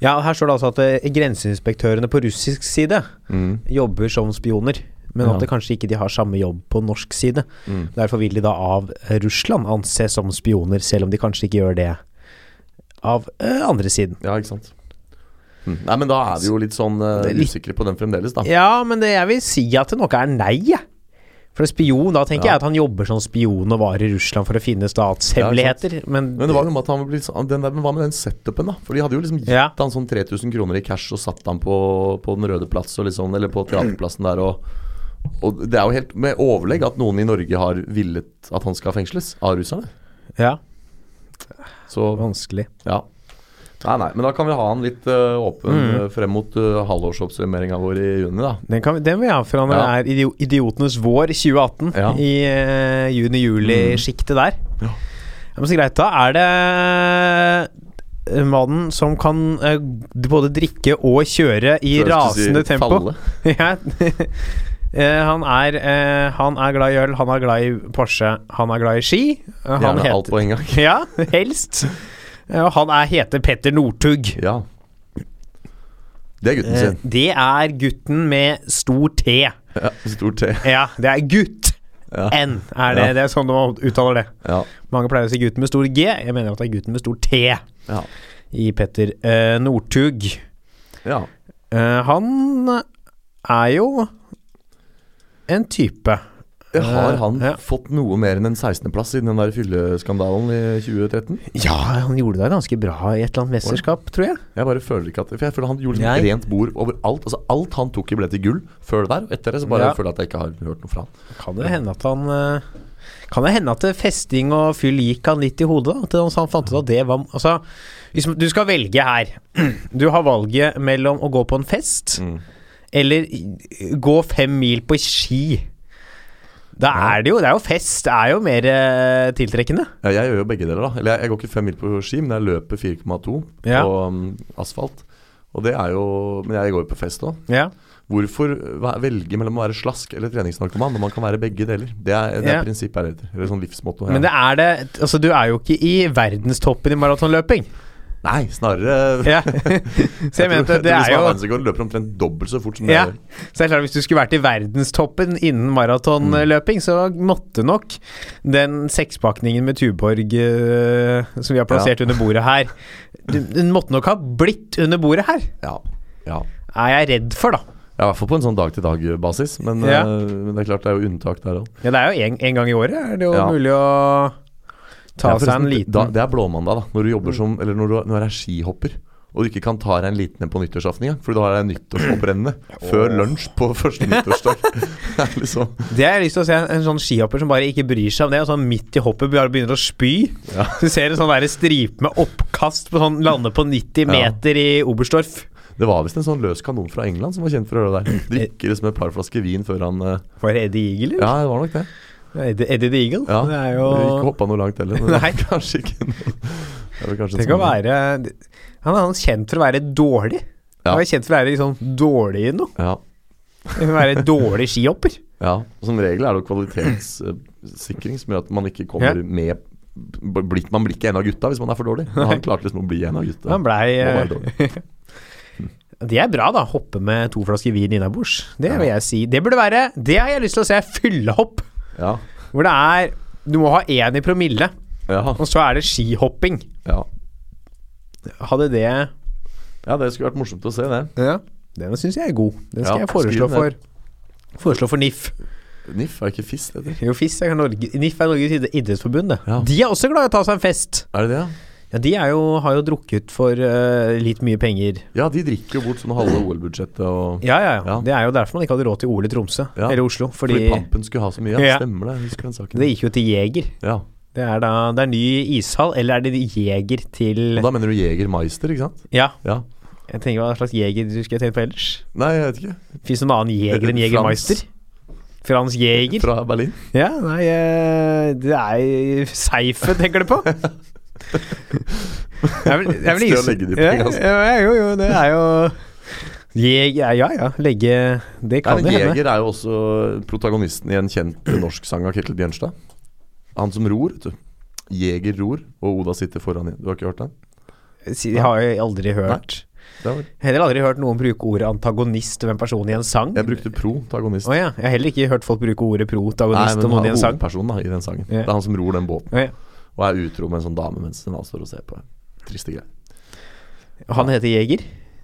Speaker 2: Ja, her står det altså at eh, grenseinspektørene på russisk side
Speaker 3: Mm.
Speaker 2: jobber som spioner, men
Speaker 3: Ja.
Speaker 2: at det kanskje ikke de har samme jobb på norsk side.
Speaker 3: Mm.
Speaker 2: Derfor vil de da av eh, Russland anses som spioner, selv om de kanskje ikke gjør det av eh, andre siden.
Speaker 3: Ja, ikke sant. Mm. Nei, men da er vi jo litt sånn eh,
Speaker 2: Det er litt-
Speaker 3: usikre på den fremdeles, da.
Speaker 2: Ja, men det, jeg vil si at det nok er nei, jeg. For en spion, da tenker
Speaker 3: Ja.
Speaker 2: jeg at han jobber som spion og var i Russland for å finne statshemmeligheter, men,
Speaker 3: Men det var jo noe med at han ble, sånn- den der, men hva med den setupen, da? For de hadde jo liksom gitt
Speaker 2: Ja.
Speaker 3: han sånn 3000 kroner i cash og satt han på, på Den røde plass og liksom, eller på teaterplassen der og og det er jo helt med overlegg at noen i Norge har villet at han skal fengsles av russerne.
Speaker 2: ja,
Speaker 3: Så
Speaker 2: vanskelig.
Speaker 3: ja. Nei, nei, men da kan vi ha han litt eh, åpen
Speaker 2: Mm.
Speaker 3: eh, frem mot uh, halvårsoppsummeringa vår i juni, da.
Speaker 2: Den, kan, vi- den vil jeg ha, for han
Speaker 3: Ja.
Speaker 2: er idio- idiotenes vår 2018
Speaker 3: Ja. Mm.
Speaker 2: i eh, juni-juli-sjiktet der.
Speaker 3: Ja.
Speaker 2: Ja, men så greit, da er det eh, mannen som kan eh, både drikke og kjøre i
Speaker 3: Før jeg skulle
Speaker 2: rasende
Speaker 3: si
Speaker 2: tempo.
Speaker 3: falle.
Speaker 2: ja. Eh, han, er, eh, han er glad i øl, han er glad i Porsche, han er glad i ski. Eh, han
Speaker 3: Gjerne alt
Speaker 2: heter
Speaker 3: på en gang.
Speaker 2: Ja, helst. Eh, Og han er, heter Petter Northug.
Speaker 3: Ja. Det er gutten
Speaker 2: Eh,
Speaker 3: sin.
Speaker 2: det er gutten med stor T.
Speaker 3: Ja, stor T.
Speaker 2: Ja, det er gutt.
Speaker 3: Ja.
Speaker 2: N er det.
Speaker 3: Ja.
Speaker 2: Det er sånn man uttaler det.
Speaker 3: Ja.
Speaker 2: Mange pleier å si gutten med stor G. Jeg mener at det er gutten med stor T
Speaker 3: Ja.
Speaker 2: i Petter eh, Northug.
Speaker 3: ja.
Speaker 2: Eh, han er jo en type.
Speaker 3: Har han
Speaker 2: Eh, Ja.
Speaker 3: fått noe mer enn en 16.-plass siden den der fylleskandalen i 2013?
Speaker 2: Ja, han gjorde det ganske bra i et eller annet mesterskap, tror jeg.
Speaker 3: Jeg bare føler ikke at For jeg føler han gjorde
Speaker 2: Nei.
Speaker 3: et rent bord over alt. Altså Alt han tok i, ble til gull før det der. Og etter det så bare
Speaker 2: Ja.
Speaker 3: føler jeg at jeg ikke har hørt noe fra han.
Speaker 2: Kan det hende at han eh, Kan det hende at eh, festing og fyll gikk han litt i hodet? da? At han- han fant ut at det var Altså, hvis du skal velge her. Du har valget mellom å gå på en fest eller i- gå fem mil på ski. Da er det jo Det er jo fest. Det er jo mer eh, tiltrekkende.
Speaker 3: Ja, jeg gjør jo begge deler, da. Eller jeg, jeg går ikke fem mil på ski, men jeg løper 4,2
Speaker 2: Ja.
Speaker 3: på um, asfalt. Og det er jo Men jeg går jo på fest òg.
Speaker 2: Ja.
Speaker 3: Hvorfor væ- velge mellom å være slask eller treningsnarkoman når man kan være begge deler? Det er, det er
Speaker 2: Ja.
Speaker 3: prinsippet jeg er etter. Eller sånn livsmotto.
Speaker 2: Men det er det Altså, du er jo ikke i verdenstoppen i maratonløping.
Speaker 3: Nei, snarere
Speaker 2: Ja. Så jeg mener
Speaker 3: tror-
Speaker 2: at det
Speaker 3: tror
Speaker 2: er
Speaker 3: som
Speaker 2: jo
Speaker 3: verdensrekord løper omtrent dobbelt så fort som
Speaker 2: Ja.
Speaker 3: det gjør.
Speaker 2: Så det er klart, hvis du skulle vært i verdenstoppen innen maratonløping, så måtte nok den sekspakningen med Tuborg eh, som vi har plassert under bordet her, den den måtte nok ha blitt under bordet her.
Speaker 3: Ja. ja.
Speaker 2: Er jeg redd for, da.
Speaker 3: Ja, I hvert fall på en sånn dag-til-dag-basis, men,
Speaker 2: Ja.
Speaker 3: eh, men det er klart det er jo unntak der òg.
Speaker 2: Ja, det er jo en, en gang i året er det jo
Speaker 3: Ja.
Speaker 2: mulig å ta seg en liten Mm.
Speaker 3: da, Det er blåmandag, da. Når du jobber som Eller når du, når du er skihopper. Og du ikke kan ta deg en liten en på nyttårsaften engang, for da er det nyttårsopprennende før lunsj på første nyttårsdag. Det er liksom
Speaker 2: Det har jeg lyst til å se en, en sånn skihopper som bare ikke bryr seg om det, og sånn midt i hoppet bare begynner å spy.
Speaker 3: Ja.
Speaker 2: Du ser en sånn der stripe med oppkast på sånn lande på 90
Speaker 3: Ja.
Speaker 2: meter i Oberstdorf.
Speaker 3: Det var visst en sånn løs kanon fra England som var kjent for å gjøre det der. Drikker liksom et par flasker vin før han eh,
Speaker 2: Var det Eddie Eagle, eller?
Speaker 3: Ja, det var nok det.
Speaker 2: Eddie, Eddie the Eagle?
Speaker 3: Ja.
Speaker 2: Det er
Speaker 3: Ikke
Speaker 2: jo
Speaker 3: hoppa noe langt heller. Men det
Speaker 2: Nei.
Speaker 3: er kanskje ikke noe Det er vel kanskje
Speaker 2: Tenk å
Speaker 3: sånn-
Speaker 2: være Han er han er kjent for å være dårlig.
Speaker 3: Ja.
Speaker 2: Han er kjent for å være liksom dårlig i noe.
Speaker 3: Ja.
Speaker 2: For å Være dårlig skihopper.
Speaker 3: Ja, og som regel er det jo kvalitetssikring som gjør at man ikke kommer
Speaker 2: Ja.
Speaker 3: med b- blitt, Man blir ikke en av gutta hvis man er for dårlig. Men han klarte liksom å bli en av gutta.
Speaker 2: Han blei
Speaker 3: og
Speaker 2: eh,
Speaker 3: være dårlig.
Speaker 2: Det er bra, da. Hoppe med to flasker vin innabords. Det vil
Speaker 3: Ja.
Speaker 2: jeg si. Det burde være Det har jeg lyst til å se. Fyllehopp.
Speaker 3: Ja,
Speaker 2: Hvor det er Du må ha én i promille,
Speaker 3: ja,
Speaker 2: og så er det skihopping.
Speaker 3: ja.
Speaker 2: Hadde det
Speaker 3: ja, det skulle vært morsomt å se, det.
Speaker 2: Ja. Den syns jeg er god. Den skal
Speaker 3: Ja,
Speaker 2: jeg foreslå
Speaker 3: skriv den
Speaker 2: for
Speaker 3: ned.
Speaker 2: Foreslå for NIF.
Speaker 3: NIF er ikke FIS, det heter.
Speaker 2: Jo, FIS er Norge, NIF er Norges idre- idrettsforbund, det.
Speaker 3: Ja.
Speaker 2: De er også glad i å ta seg en fest.
Speaker 3: Er det det, ja?
Speaker 2: Ja, de er jo, har jo drukket for eh, litt mye penger.
Speaker 3: Ja, de drikker jo bort sånn halve OL-budsjettet og
Speaker 2: Ja, ja, ja,
Speaker 3: Ja.
Speaker 2: Det er jo derfor man ikke hadde råd til OL i Tromsø,
Speaker 3: Ja.
Speaker 2: eller Oslo. Fordi
Speaker 3: Fordi Pampen skulle ha så mye, ja.
Speaker 2: Ja.
Speaker 3: Stemmer det. Jeg husker den saken.
Speaker 2: det gikk jo til Jeger.
Speaker 3: Ja.
Speaker 2: Det er da det er ny ishall, eller er det Jeger til
Speaker 3: Og da mener du Jeger Meister, ikke sant?
Speaker 2: Ja,
Speaker 3: Ja.
Speaker 2: jeg tenker hva slags Jeger du skulle tenkt på ellers?
Speaker 3: Nei, jeg vet ikke.
Speaker 2: Fins det noen annen Jeger enn
Speaker 3: Frans.
Speaker 2: Jegermeister? Frans Jeger?
Speaker 3: Fra Berlin.
Speaker 2: Ja, nei eh, Det er Seife, tenker du på? Det er vel- det er vel
Speaker 3: Sted å
Speaker 2: ingen-
Speaker 3: legge de
Speaker 2: Ja,
Speaker 3: pengene, altså.
Speaker 2: ja, Jo, jo, det er jo Jeg, ja, ja, ja, legge Det
Speaker 3: Nei,
Speaker 2: kan
Speaker 3: men
Speaker 2: det hende.
Speaker 3: Jeger er jo også protagonisten i en kjent norsk sang av Ketil Bjørnstad. Han som ror, vet du. Jeger ror, og Oda sitter foran i- Du har ikke hørt den?
Speaker 2: si- Jeg har jo aldri hørt
Speaker 3: Det var,
Speaker 2: Heller aldri hørt noen bruke ordet antagonist om en person i en sang.
Speaker 3: jeg brukte protagonist.
Speaker 2: Å ja. Jeg har heller ikke hørt folk bruke ordet
Speaker 3: Nei,
Speaker 2: protagonist
Speaker 3: men
Speaker 2: om
Speaker 3: han
Speaker 2: noen i
Speaker 3: er
Speaker 2: en sang.
Speaker 3: hovedpersonen da, i den sangen.
Speaker 2: Ja.
Speaker 3: Det er han som ror den båten
Speaker 2: Å ja.
Speaker 3: og er utro med en sånn dame mens den alle står og ser på. Triste greier.
Speaker 2: Han heter Jeger.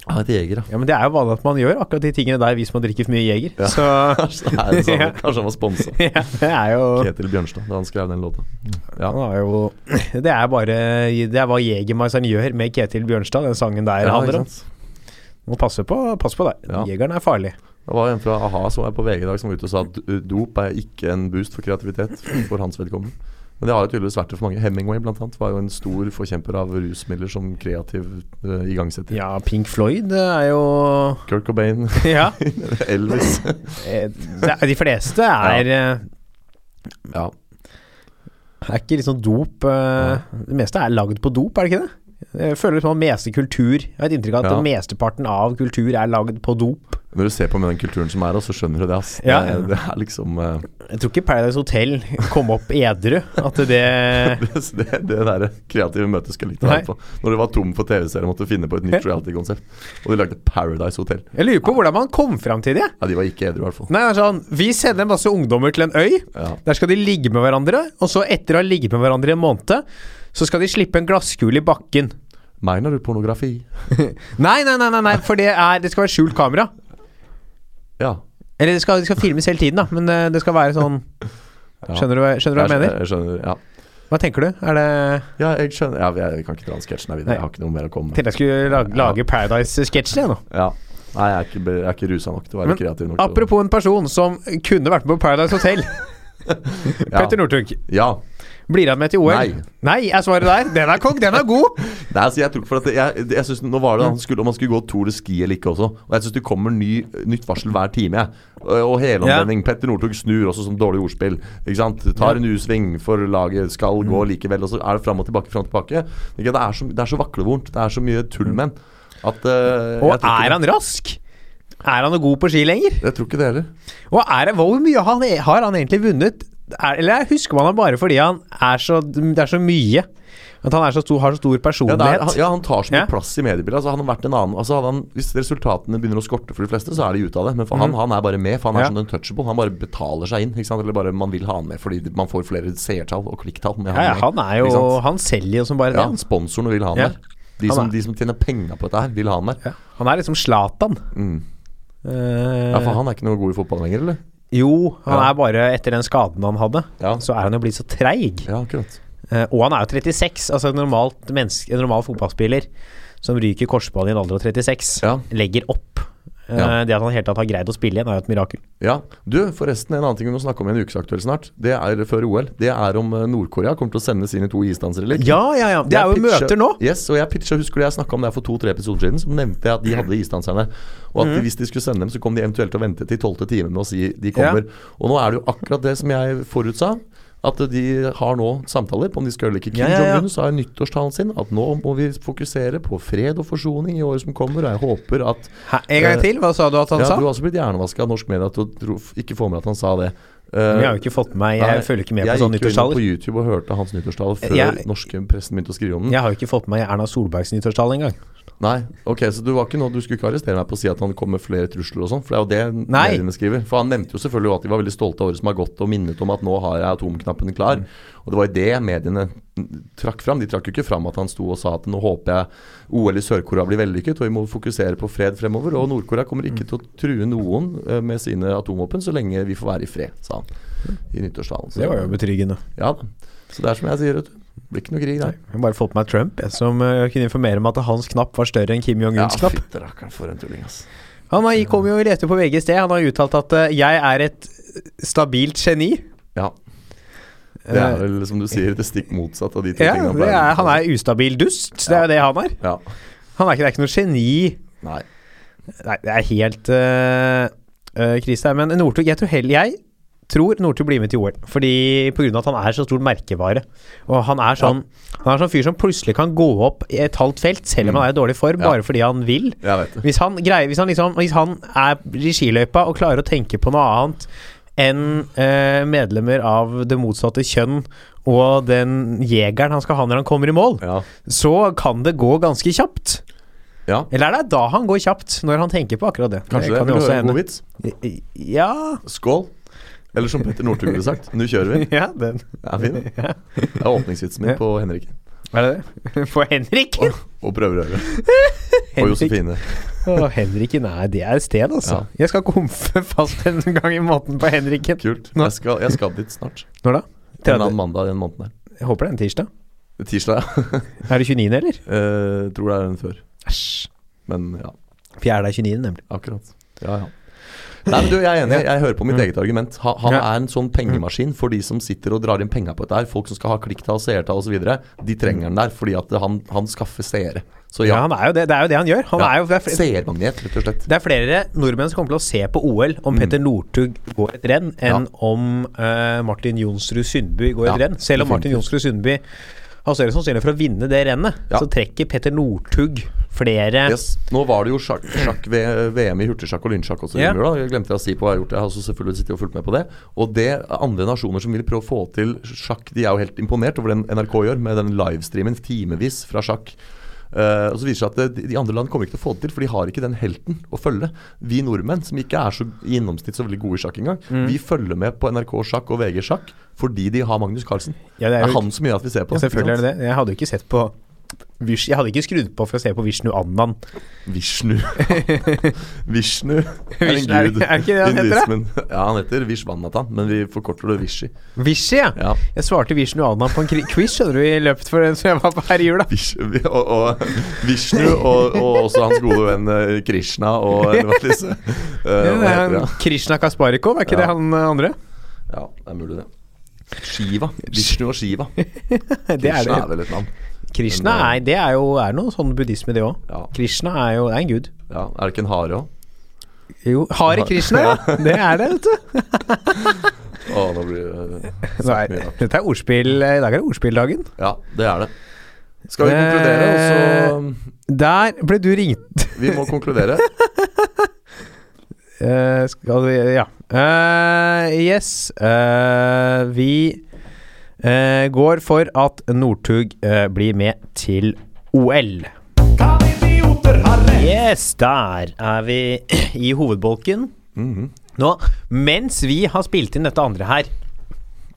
Speaker 3: Han heter Jeger,
Speaker 2: Ja, men det er jo vanlig at man gjør akkurat de tingene der hvis man drikker for mye Jeger.
Speaker 3: Ja.
Speaker 2: Så
Speaker 3: Kanskje, det er det samme.
Speaker 2: Ja.
Speaker 3: Kanskje han var sponsa.
Speaker 2: ja, det er jo
Speaker 3: Ketil Bjørnstad, da han skrev den låta. Ja.
Speaker 2: Han har jo Det er bare Det er hva Jegermeisteren gjør med Ketil Bjørnstad, den sangen der
Speaker 3: Ja,
Speaker 2: handler
Speaker 3: ikke
Speaker 2: om.
Speaker 3: sant?
Speaker 2: Må passe på, passe på deg.
Speaker 3: Ja.
Speaker 2: Jegeren er farlig.
Speaker 3: Det var en fra a-ha som var på VG i dag som var ute og sa at d- dop er ikke en boost for kreativitet for hans vedkommende. Men det har jo tydeligvis vært det for mange. Hemingway blant annet var jo en stor forkjemper av rusmidler som kreativ eh, igangsetter.
Speaker 2: Ja, Pink Floyd er jo
Speaker 3: Kirk Cobain,
Speaker 2: Ja.
Speaker 3: Elvis
Speaker 2: eh, det er- De fleste er eh,
Speaker 3: Ja,
Speaker 2: Er ikke liksom dop eh, Det meste er lagd på dop, er det ikke det? Jeg føler liksom at meste kultur Jeg har et inntrykk av at
Speaker 3: Ja.
Speaker 2: mesteparten av kultur er lagd på dop.
Speaker 3: Når du ser på med den kulturen som er, da, så skjønner du det. ass
Speaker 2: Ja.
Speaker 3: det, det er liksom eh,
Speaker 2: Jeg tror ikke Paradise Hotel kom opp edru. At det
Speaker 3: Det, det, det der kreative møtet skal litt være
Speaker 2: Nei.
Speaker 3: på. Når det var tom for TV-serier, måtte finne på et nytt
Speaker 2: Ja.
Speaker 3: reality-konsept. Og de lagde Paradise Hotel.
Speaker 2: Jeg lurer på hvordan man kom fram til det.
Speaker 3: Ja, De var ikke edru, i hvert fall.
Speaker 2: Nei, det er sånn Vi sender en masse ungdommer til en øy.
Speaker 3: Ja.
Speaker 2: Der skal de ligge med hverandre, og så etter å ha ligget med hverandre i en måned, så skal de slippe en glasskule i bakken.
Speaker 3: Mener du pornografi?
Speaker 2: Nei, nei, nei, nei, nei for det, er, det skal være skjult kamera.
Speaker 3: Ja.
Speaker 2: Eller det skal, det skal filmes hele tiden, da, men eh, det skal være sånn
Speaker 3: Ja.
Speaker 2: Skjønner du, hva- skjønner du hva jeg mener?
Speaker 3: Jeg skjønner, ja.
Speaker 2: Hva tenker du? Er det
Speaker 3: ja, jeg skjønner ja, Jeg kan ikke dra den sketsjen her videre.
Speaker 2: Nei.
Speaker 3: Jeg har ikke noe mer å komme med.
Speaker 2: Tenkte jeg skulle lage, lage Paradise-sketsjen, jeg nå.
Speaker 3: Ja. Nei, jeg er ikke, be- jeg er ikke rusa nok til å være
Speaker 2: Men
Speaker 3: kreativ nok. til å-
Speaker 2: Apropos en person som kunne vært med på Paradise Hotel. Petter Northug.
Speaker 3: Ja.
Speaker 2: Blir han med til OL?
Speaker 3: Nei.
Speaker 2: Nei, er svaret der. Den er kong, den er god!
Speaker 3: Nei, altså jeg tror ikke for at det, jeg, det- jeg synes, Nå var det
Speaker 2: Mm.
Speaker 3: han skulle, om han skulle gå Tour de Ski eller ikke også. Og jeg syns det kommer ny, nytt varsel hver time. Jeg. Og og helomvending. Petter Northug snur også som dårlig ordspill. Ikke sant? Tar en U-sving for laget, skal
Speaker 2: Mm.
Speaker 3: gå likevel. Og så er det fram og tilbake, fram og tilbake. Ikke, det, er så, det er så vaklevorent. Det er så mye tull med den. At eh,
Speaker 2: Og
Speaker 3: jeg, tror ikke,
Speaker 2: er han rask? Er han noe god på ski lenger?
Speaker 3: jeg tror ikke det heller.
Speaker 2: Og er det, hvor mye han, e- har han egentlig vunnet? Er, eller husker man ham bare fordi han er så, det er så mye? At han er så stor, har så stor
Speaker 3: Ja, det er,
Speaker 2: personlighet?
Speaker 3: han, ja, han tar så mye
Speaker 2: Ja.
Speaker 3: plass i mediebildet. Altså, hadde han vært en annen, altså, hadde han, hvis resultatene begynner å skorte for de fleste, så er de ute av det. Men for han, han er bare med, for han er
Speaker 2: Mm. Ja.
Speaker 3: sånn untouchable. Han bare betaler seg inn. Ikke sant? Eller bare man vil ha han med fordi man får flere seertall og klikktall. med
Speaker 2: Ja, ja, han er jo
Speaker 3: Ikke sant?
Speaker 2: Han selger jo som bare
Speaker 3: ja,
Speaker 2: det. altså.
Speaker 3: Sponsorene vil ha han
Speaker 2: Ja.
Speaker 3: der. De
Speaker 2: Han
Speaker 3: som,
Speaker 2: er-
Speaker 3: de som tjener penger på dette her, vil ha han der.
Speaker 2: Ja. Han er liksom Zlatan.
Speaker 3: Mm.
Speaker 2: Eh,
Speaker 3: Ja, for han er ikke noe god i fotball lenger, eller?
Speaker 2: jo, han
Speaker 3: Ja.
Speaker 2: er bare etter den skaden han hadde,
Speaker 3: Ja.
Speaker 2: så er han jo blitt så treig.
Speaker 3: Ja, akkurat.
Speaker 2: Eh, og han er jo 36. Altså en, normalt menneske, en normal fotballspiller som ryker korsbånd i en alder av 36,
Speaker 3: Ja.
Speaker 2: legger opp. Eh,
Speaker 3: Ja.
Speaker 2: Det at han i det hele tatt har greid å spille igjen, er jo et mirakel.
Speaker 3: Ja, du, forresten, en annen ting vi må snakke om i en ukesaktuell snart, det er før OL. Det er om eh, Nord-Korea kommer til å sende sine to isdansere i lek.
Speaker 2: Ja, ja, ja. Det
Speaker 3: Jeg
Speaker 2: er jo
Speaker 3: pitcha-
Speaker 2: møter nå.
Speaker 3: Yes, og jeg pitcha, Husker du jeg snakka om det her for to-tre episoder siden? Så nevnte jeg at de hadde isdanserne. Og
Speaker 2: Mhm.
Speaker 3: at de, hvis de skulle sende dem, så kom de eventuelt til å vente til tolvte time med å si de kommer. Og nå er det jo akkurat det som jeg forutsa. At de har nå samtaler på om de skal eller ikke. Kim
Speaker 2: Ja, ja, ja.
Speaker 3: Jong-un sa i nyttårstalen sin at nå må vi fokusere på fred og forsoning i året som kommer, og jeg håper at eh,
Speaker 2: Hæ, en gang til, hva sa du at han
Speaker 3: ja,
Speaker 2: sa?
Speaker 3: Du har også blitt hjernevaska av norsk media til å tro, ikke få med at han sa det. Eh,
Speaker 2: Men jeg har jo ikke fått med meg Jeg
Speaker 3: nei,
Speaker 2: følger ikke med
Speaker 3: jeg
Speaker 2: på sånne
Speaker 3: gikk jo inn
Speaker 2: nyttårstaler.
Speaker 3: på YouTube og hørte hans nyttårstale før
Speaker 2: Jeg-
Speaker 3: norske pressen begynte å skrive om den.
Speaker 2: Jeg har jo ikke fått med meg Erna Solbergs nyttårstale engang.
Speaker 3: Nei, ok, så du var ikke nå Du skulle ikke arrestere meg på å si at han kom med flere trusler og sånn, for det er jo det
Speaker 2: Nei.
Speaker 3: mediene skriver. For han nevnte jo selvfølgelig også at de var veldig stolte av året som har gått, og minnet om at nå har jeg atomknappen klar.
Speaker 2: Mm.
Speaker 3: Og det var jo det mediene trakk fram. De trakk jo ikke fram at han sto og sa at nå håper jeg OL i Sør-Korea blir vellykket, og vi må fokusere på fred fremover. Og Nord-Korea kommer
Speaker 2: Mm.
Speaker 3: ikke til å true noen eh, med sine atomvåpen så lenge vi får være i fred, sa han i nyttårstalen. Så-
Speaker 2: Det var jo betryggende.
Speaker 3: Ja da. Så det er som jeg sier, vet du. Det Blir ikke noe krig der.
Speaker 2: Jeg har bare fått med meg Trump, jeg, som eh, kunne informere meg at hans knapp var større enn Kim
Speaker 3: Ja,
Speaker 2: Jong-uns knapp.
Speaker 3: fytte rakkeren, for en tulling, ass.
Speaker 2: Han har, kom jo i rette på VG i sted. Han har uttalt at eh, 'jeg er et stabilt geni'.
Speaker 3: Ja. Det er vel, som du sier, det stikk motsatt av de to
Speaker 2: Eh, Ja,
Speaker 3: tingene.
Speaker 2: det er, han er ustabil dust. Det er jo det han er.
Speaker 3: Ja.
Speaker 2: Han er ikke, det er ikke noe geni.
Speaker 3: Nei.
Speaker 2: Nei, det er helt øh, øh, krise her. Men Northug, jeg tror heller jeg tror Northug blir med til OL. Fordi på grunn av at han er så stor merkevare. Og han er sånn Han er sånn fyr som plutselig kan gå opp i et halvt felt, selv om han er i dårlig form,
Speaker 3: Ja.
Speaker 2: bare fordi han vil.
Speaker 3: Jeg vet det.
Speaker 2: Hvis han, greier, hvis han, liksom, hvis han er i skiløypa og klarer å tenke på noe annet enn eh, medlemmer av det motsatte kjønn og den jegeren han skal ha når han kommer i mål,
Speaker 3: Ja.
Speaker 2: så kan det gå ganske kjapt.
Speaker 3: ja.
Speaker 2: Eller er det da han går kjapt, når han tenker på akkurat det?
Speaker 3: Kanskje det.
Speaker 2: kan
Speaker 3: Vil
Speaker 2: jo
Speaker 3: du
Speaker 2: også
Speaker 3: høre en
Speaker 2: hende.
Speaker 3: god vits?
Speaker 2: Ja,
Speaker 3: Skål. Eller som Petter Northug ville sagt, nå kjører vi.
Speaker 2: ja den.
Speaker 3: Det er fin. den. Det er åpningsvitsen min
Speaker 2: Ja.
Speaker 3: på Henrik
Speaker 2: Er det det? For Henriken!
Speaker 3: og prøverøret. Og Josefine.
Speaker 2: Å, Henriken er Det er et sted, altså.
Speaker 3: Ja.
Speaker 2: Jeg skal komfe fast en gang i måneden på Henriken.
Speaker 3: Kult.
Speaker 2: Nå-
Speaker 3: Jeg skal, jeg skal dit snart.
Speaker 2: Når da?
Speaker 3: En
Speaker 2: 30.
Speaker 3: eller annen mandag i den måneden her.
Speaker 2: Jeg håper det er en tirsdag.
Speaker 3: Tirsdag, ja.
Speaker 2: Er det 29., eller?
Speaker 3: Eh, tror det er den før.
Speaker 2: Æsj.
Speaker 3: Men ja,
Speaker 2: Fjerde er 29., nemlig.
Speaker 3: akkurat. Ja, ja. Nei, men du, Jeg er enig. Jeg hører på mitt eget argument. Ha, han
Speaker 2: Ja. Mm.
Speaker 3: er en sånn pengemaskin for de som sitter og drar inn penger på dette. her Folk som skal ha klikktall, seertall osv. De trenger den der fordi at han, han skaffer seere. Så
Speaker 2: Mm. Ja,
Speaker 3: ja.
Speaker 2: han er jo det. Det er jo det han gjør. Han
Speaker 3: Ja.
Speaker 2: er jo, det, er flere,
Speaker 3: Seermagnet, rett og slett.
Speaker 2: det er flere nordmenn som kommer til å se på OL
Speaker 3: Mm.
Speaker 2: om Petter Northug går et renn, enn om eh, Martin Jonsrud Sundby går et
Speaker 3: Ja,
Speaker 2: renn. Selv om Martin
Speaker 3: definitivt.
Speaker 2: Jonsrud Sundby har større sannsynlighet for å vinne det rennet,
Speaker 3: Ja.
Speaker 2: så trekker Petter Northug flere
Speaker 3: Yes. Nå var det jo sjakk, sjakk ved- VM i hurtigsjakk og lynsjakk også. i
Speaker 2: Ja.
Speaker 3: jula. Jeg glemte jeg å si på hva jeg har gjort. Jeg har også selvfølgelig sittet og fulgt med på det. Og det er andre nasjoner som vil prøve å få til sjakk, de er jo helt imponert over den NRK gjør med den livestreamen timevis fra sjakk. Eh, og så viser det seg at de- De andre land kommer ikke til å få det til, for de har ikke den helten å følge. Vi nordmenn, som ikke er så i gjennomsnitt så veldig gode i sjakk engang,
Speaker 2: Mm.
Speaker 3: vi følger med på NRK sjakk og VG sjakk fordi de har Magnus Carlsen.
Speaker 2: Ja,
Speaker 3: det, er
Speaker 2: jo-
Speaker 3: han som gjør at vi ser på.
Speaker 2: Ja, selvfølgelig er det det. Jeg hadde jo ikke sett på Vish- Jeg hadde ikke skrudd på for å se på Vishnu Annan.
Speaker 3: Vishnu. Vishnu er en
Speaker 2: Vishnu, er-
Speaker 3: gud
Speaker 2: er ikke det
Speaker 3: i
Speaker 2: han heter, da?
Speaker 3: hinduismen. Ja, han heter Vishvanathan, men vi forkorter det Vishi.
Speaker 2: Vishi, ja.
Speaker 3: Ja.
Speaker 2: Jeg svarte Vishnu Annan på en kri- quiz skjønner du, i løpet for den som jeg var på her i jula.
Speaker 3: Vish, vi- og, og Vishnu og, og også hans gode venn eh, Krishna og eh, hva disse eh,
Speaker 2: Ja,
Speaker 3: Hva
Speaker 2: det er
Speaker 3: heter
Speaker 2: han,
Speaker 3: det? da?
Speaker 2: Krishna Kasparikov, er ikke det
Speaker 3: Ja.
Speaker 2: han eh, andre?
Speaker 3: Ja, det er mulig, det. Shiva. Vishnu og Shiva.
Speaker 2: Det er
Speaker 3: Krishna
Speaker 2: det.
Speaker 3: er vel et navn.
Speaker 2: Krishna
Speaker 3: Men,
Speaker 2: er, det er jo er noe sånn buddhisme, det òg.
Speaker 3: Ja.
Speaker 2: Krishna er jo det er en gud.
Speaker 3: Ja, er det ikke en hare òg?
Speaker 2: Jo, Hare Krishna, ja! Det er det, vet du.
Speaker 3: Å, nå blir det eh,
Speaker 2: Nå er- Dette er ordspill eh, I dag er det ordspilldagen.
Speaker 3: Ja, det er det.
Speaker 2: Eh.
Speaker 3: Skal vi konkludere, og
Speaker 2: Der ble du ringt
Speaker 3: så Vi må konkludere.
Speaker 2: Eh, skal vi Ja. Eh, yes. Eh, vi eh, går for at Northug eh, blir med til OL. Yes, der er vi i hovedbolken. Mhm. Nå, mens vi har spilt inn dette andre her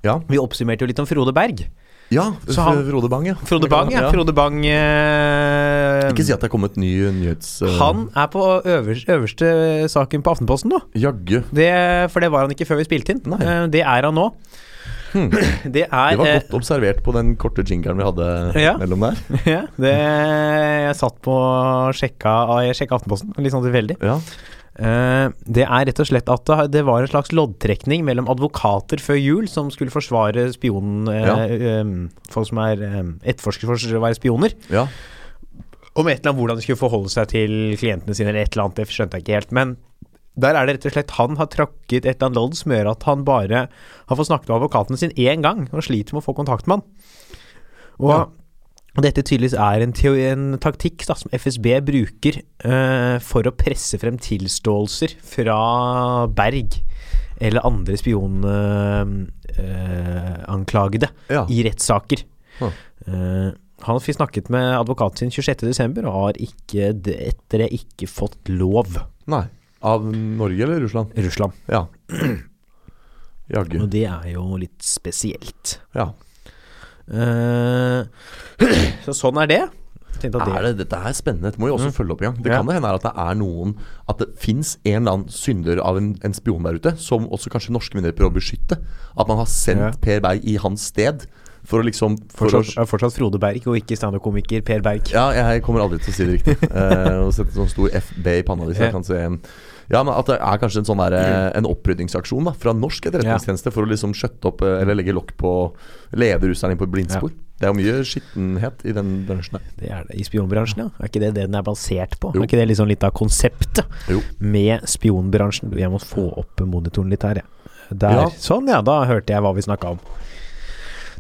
Speaker 3: Ja.
Speaker 2: Vi oppsummerte jo litt om Frode Berg.
Speaker 3: Ja,
Speaker 2: Så han-
Speaker 3: Frode Bang, ja.
Speaker 2: Frode Bang, ja. Frode Bang eh,
Speaker 3: Ikke si at det er kommet ny nyhets... eh,
Speaker 2: Han er på øverste, øverste saken på Aftenposten nå.
Speaker 3: Jaggu.
Speaker 2: Det, for det var han ikke før vi spilte inn.
Speaker 3: Nei.
Speaker 2: Eh,
Speaker 3: Hmm.
Speaker 2: Det er han nå. Det er
Speaker 3: Det var
Speaker 2: eh,
Speaker 3: godt observert på den korte jingeren vi hadde
Speaker 2: Ja.
Speaker 3: mellom der.
Speaker 2: eh, ja, det, Jeg satt på og sjekka, jeg sjekka Aftenposten, litt sånn tilfeldig.
Speaker 3: Ja.
Speaker 2: Eh, Det er rett og slett at det har- det var en slags loddtrekning mellom advokater før jul som skulle forsvare spionen eh,
Speaker 3: Ja.
Speaker 2: eh, Folk som er eh, etterforsket for å være spioner.
Speaker 3: ja.
Speaker 2: Om et eller annet hvordan de skulle forholde seg til klientene sine, eller et eller annet, det skjønte jeg ikke helt. Men der er det rett og slett han har trakket et eller annet lodd som gjør at han bare har fått snakket med advokaten sin én gang, og sliter med å få kontakt med han. Og
Speaker 3: Ja.
Speaker 2: og dette tydeligvis er en, teo- en taktikk da, som FSB bruker eh, for å presse frem tilståelser fra Berg eller andre spionanklagede
Speaker 3: Ja.
Speaker 2: i rettssaker.
Speaker 3: Hm.
Speaker 2: Eh, han fikk snakket med advokaten sin 26.12. og har ikke, d- etter det ikke fått lov.
Speaker 3: Nei. Av Norge eller Russland?
Speaker 2: Russland.
Speaker 3: Ja. Jaggu.
Speaker 2: Og det er jo litt spesielt.
Speaker 3: Ja.
Speaker 2: Eh, så sånn er det. Tenkte at det, Mm.
Speaker 3: Er det, dette er spennende. Dette må vi også følge opp i gang. Det
Speaker 2: Ja.
Speaker 3: kan det hende er at det er noen At det fins en eller annen synder av en, en spion der ute, som også kanskje norske myndigheter prøver å beskytte. At man har sendt
Speaker 2: Ja.
Speaker 3: Per Berg i hans sted for å liksom for å-
Speaker 2: fortsatt, er fortsatt Frode Berg og ikke standup-komiker Per Berg.
Speaker 3: Ja, jeg kommer aldri til å si det riktig. Eh, Å sette sånn stor FB i panna hvis jeg kan se ja, men At det er kanskje en sånn der, eh,
Speaker 2: Mm.
Speaker 3: En opprydningsaksjon da fra norsk etterretningstjeneste for å liksom skjøtte opp eh, eller legge lokk på lede russerne inn på blindspor. Det er jo mye skittenhet i den bransjen der.
Speaker 2: Det er det i spionbransjen, ja. Er ikke det det den er basert på?
Speaker 3: Jo.
Speaker 2: Er ikke det liksom litt av konseptet
Speaker 3: Jo.
Speaker 2: med spionbransjen? Jeg må få opp monitoren litt her, jeg. Der.
Speaker 3: Ja.
Speaker 2: Sånn, ja. Da hørte jeg hva vi snakka om.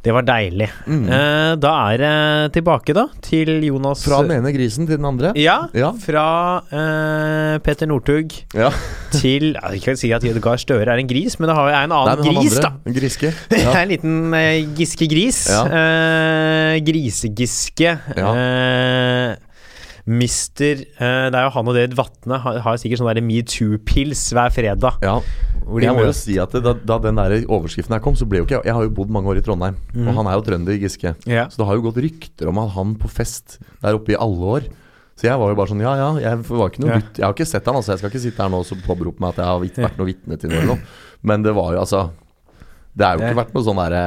Speaker 2: Det var deilig.
Speaker 3: Mm.
Speaker 2: Eh, da er det tilbake, da, til Jonas
Speaker 3: Fra den ene grisen til den andre.
Speaker 2: Ja,
Speaker 3: Ja.
Speaker 2: fra eh, Petter Northug
Speaker 3: Ja.
Speaker 2: til Jeg vil ikke si at Gahr Støre er en gris, men det har jo er en
Speaker 3: Nei,
Speaker 2: annen
Speaker 3: men han
Speaker 2: gris,
Speaker 3: andre,
Speaker 2: da.
Speaker 3: En griske.
Speaker 2: Det
Speaker 3: Ja.
Speaker 2: er en liten eh, giske-gris.
Speaker 3: Ja.
Speaker 2: Eh, Grisegiske.
Speaker 3: Ja.
Speaker 2: Eh, Mister eh, Det er jo han og David Vatne har, har sikkert sånn metoo-pils hver fredag.
Speaker 3: Ja.
Speaker 2: Hvor de
Speaker 3: Jeg må jo
Speaker 2: møtes.
Speaker 3: si at det, da, da den der overskriften her kom, så ble jo ikke jeg Jeg har jo bodd mange år i Trondheim, og han er jo trønder, Giske.
Speaker 2: Mhm. Ja.
Speaker 3: Så det har jo gått rykter om at han på fest der oppe i alle år. Så jeg var jo bare sånn Ja, ja, jeg var ikke noe
Speaker 2: Ja.
Speaker 3: gutt. Jeg har ikke sett han, altså. Jeg skal ikke sitte her nå og så påberope meg at jeg har vit- vært noe vitne til noe eller noe. Men det var jo altså Det har jo ikke
Speaker 2: Det-
Speaker 3: vært noe sånn derre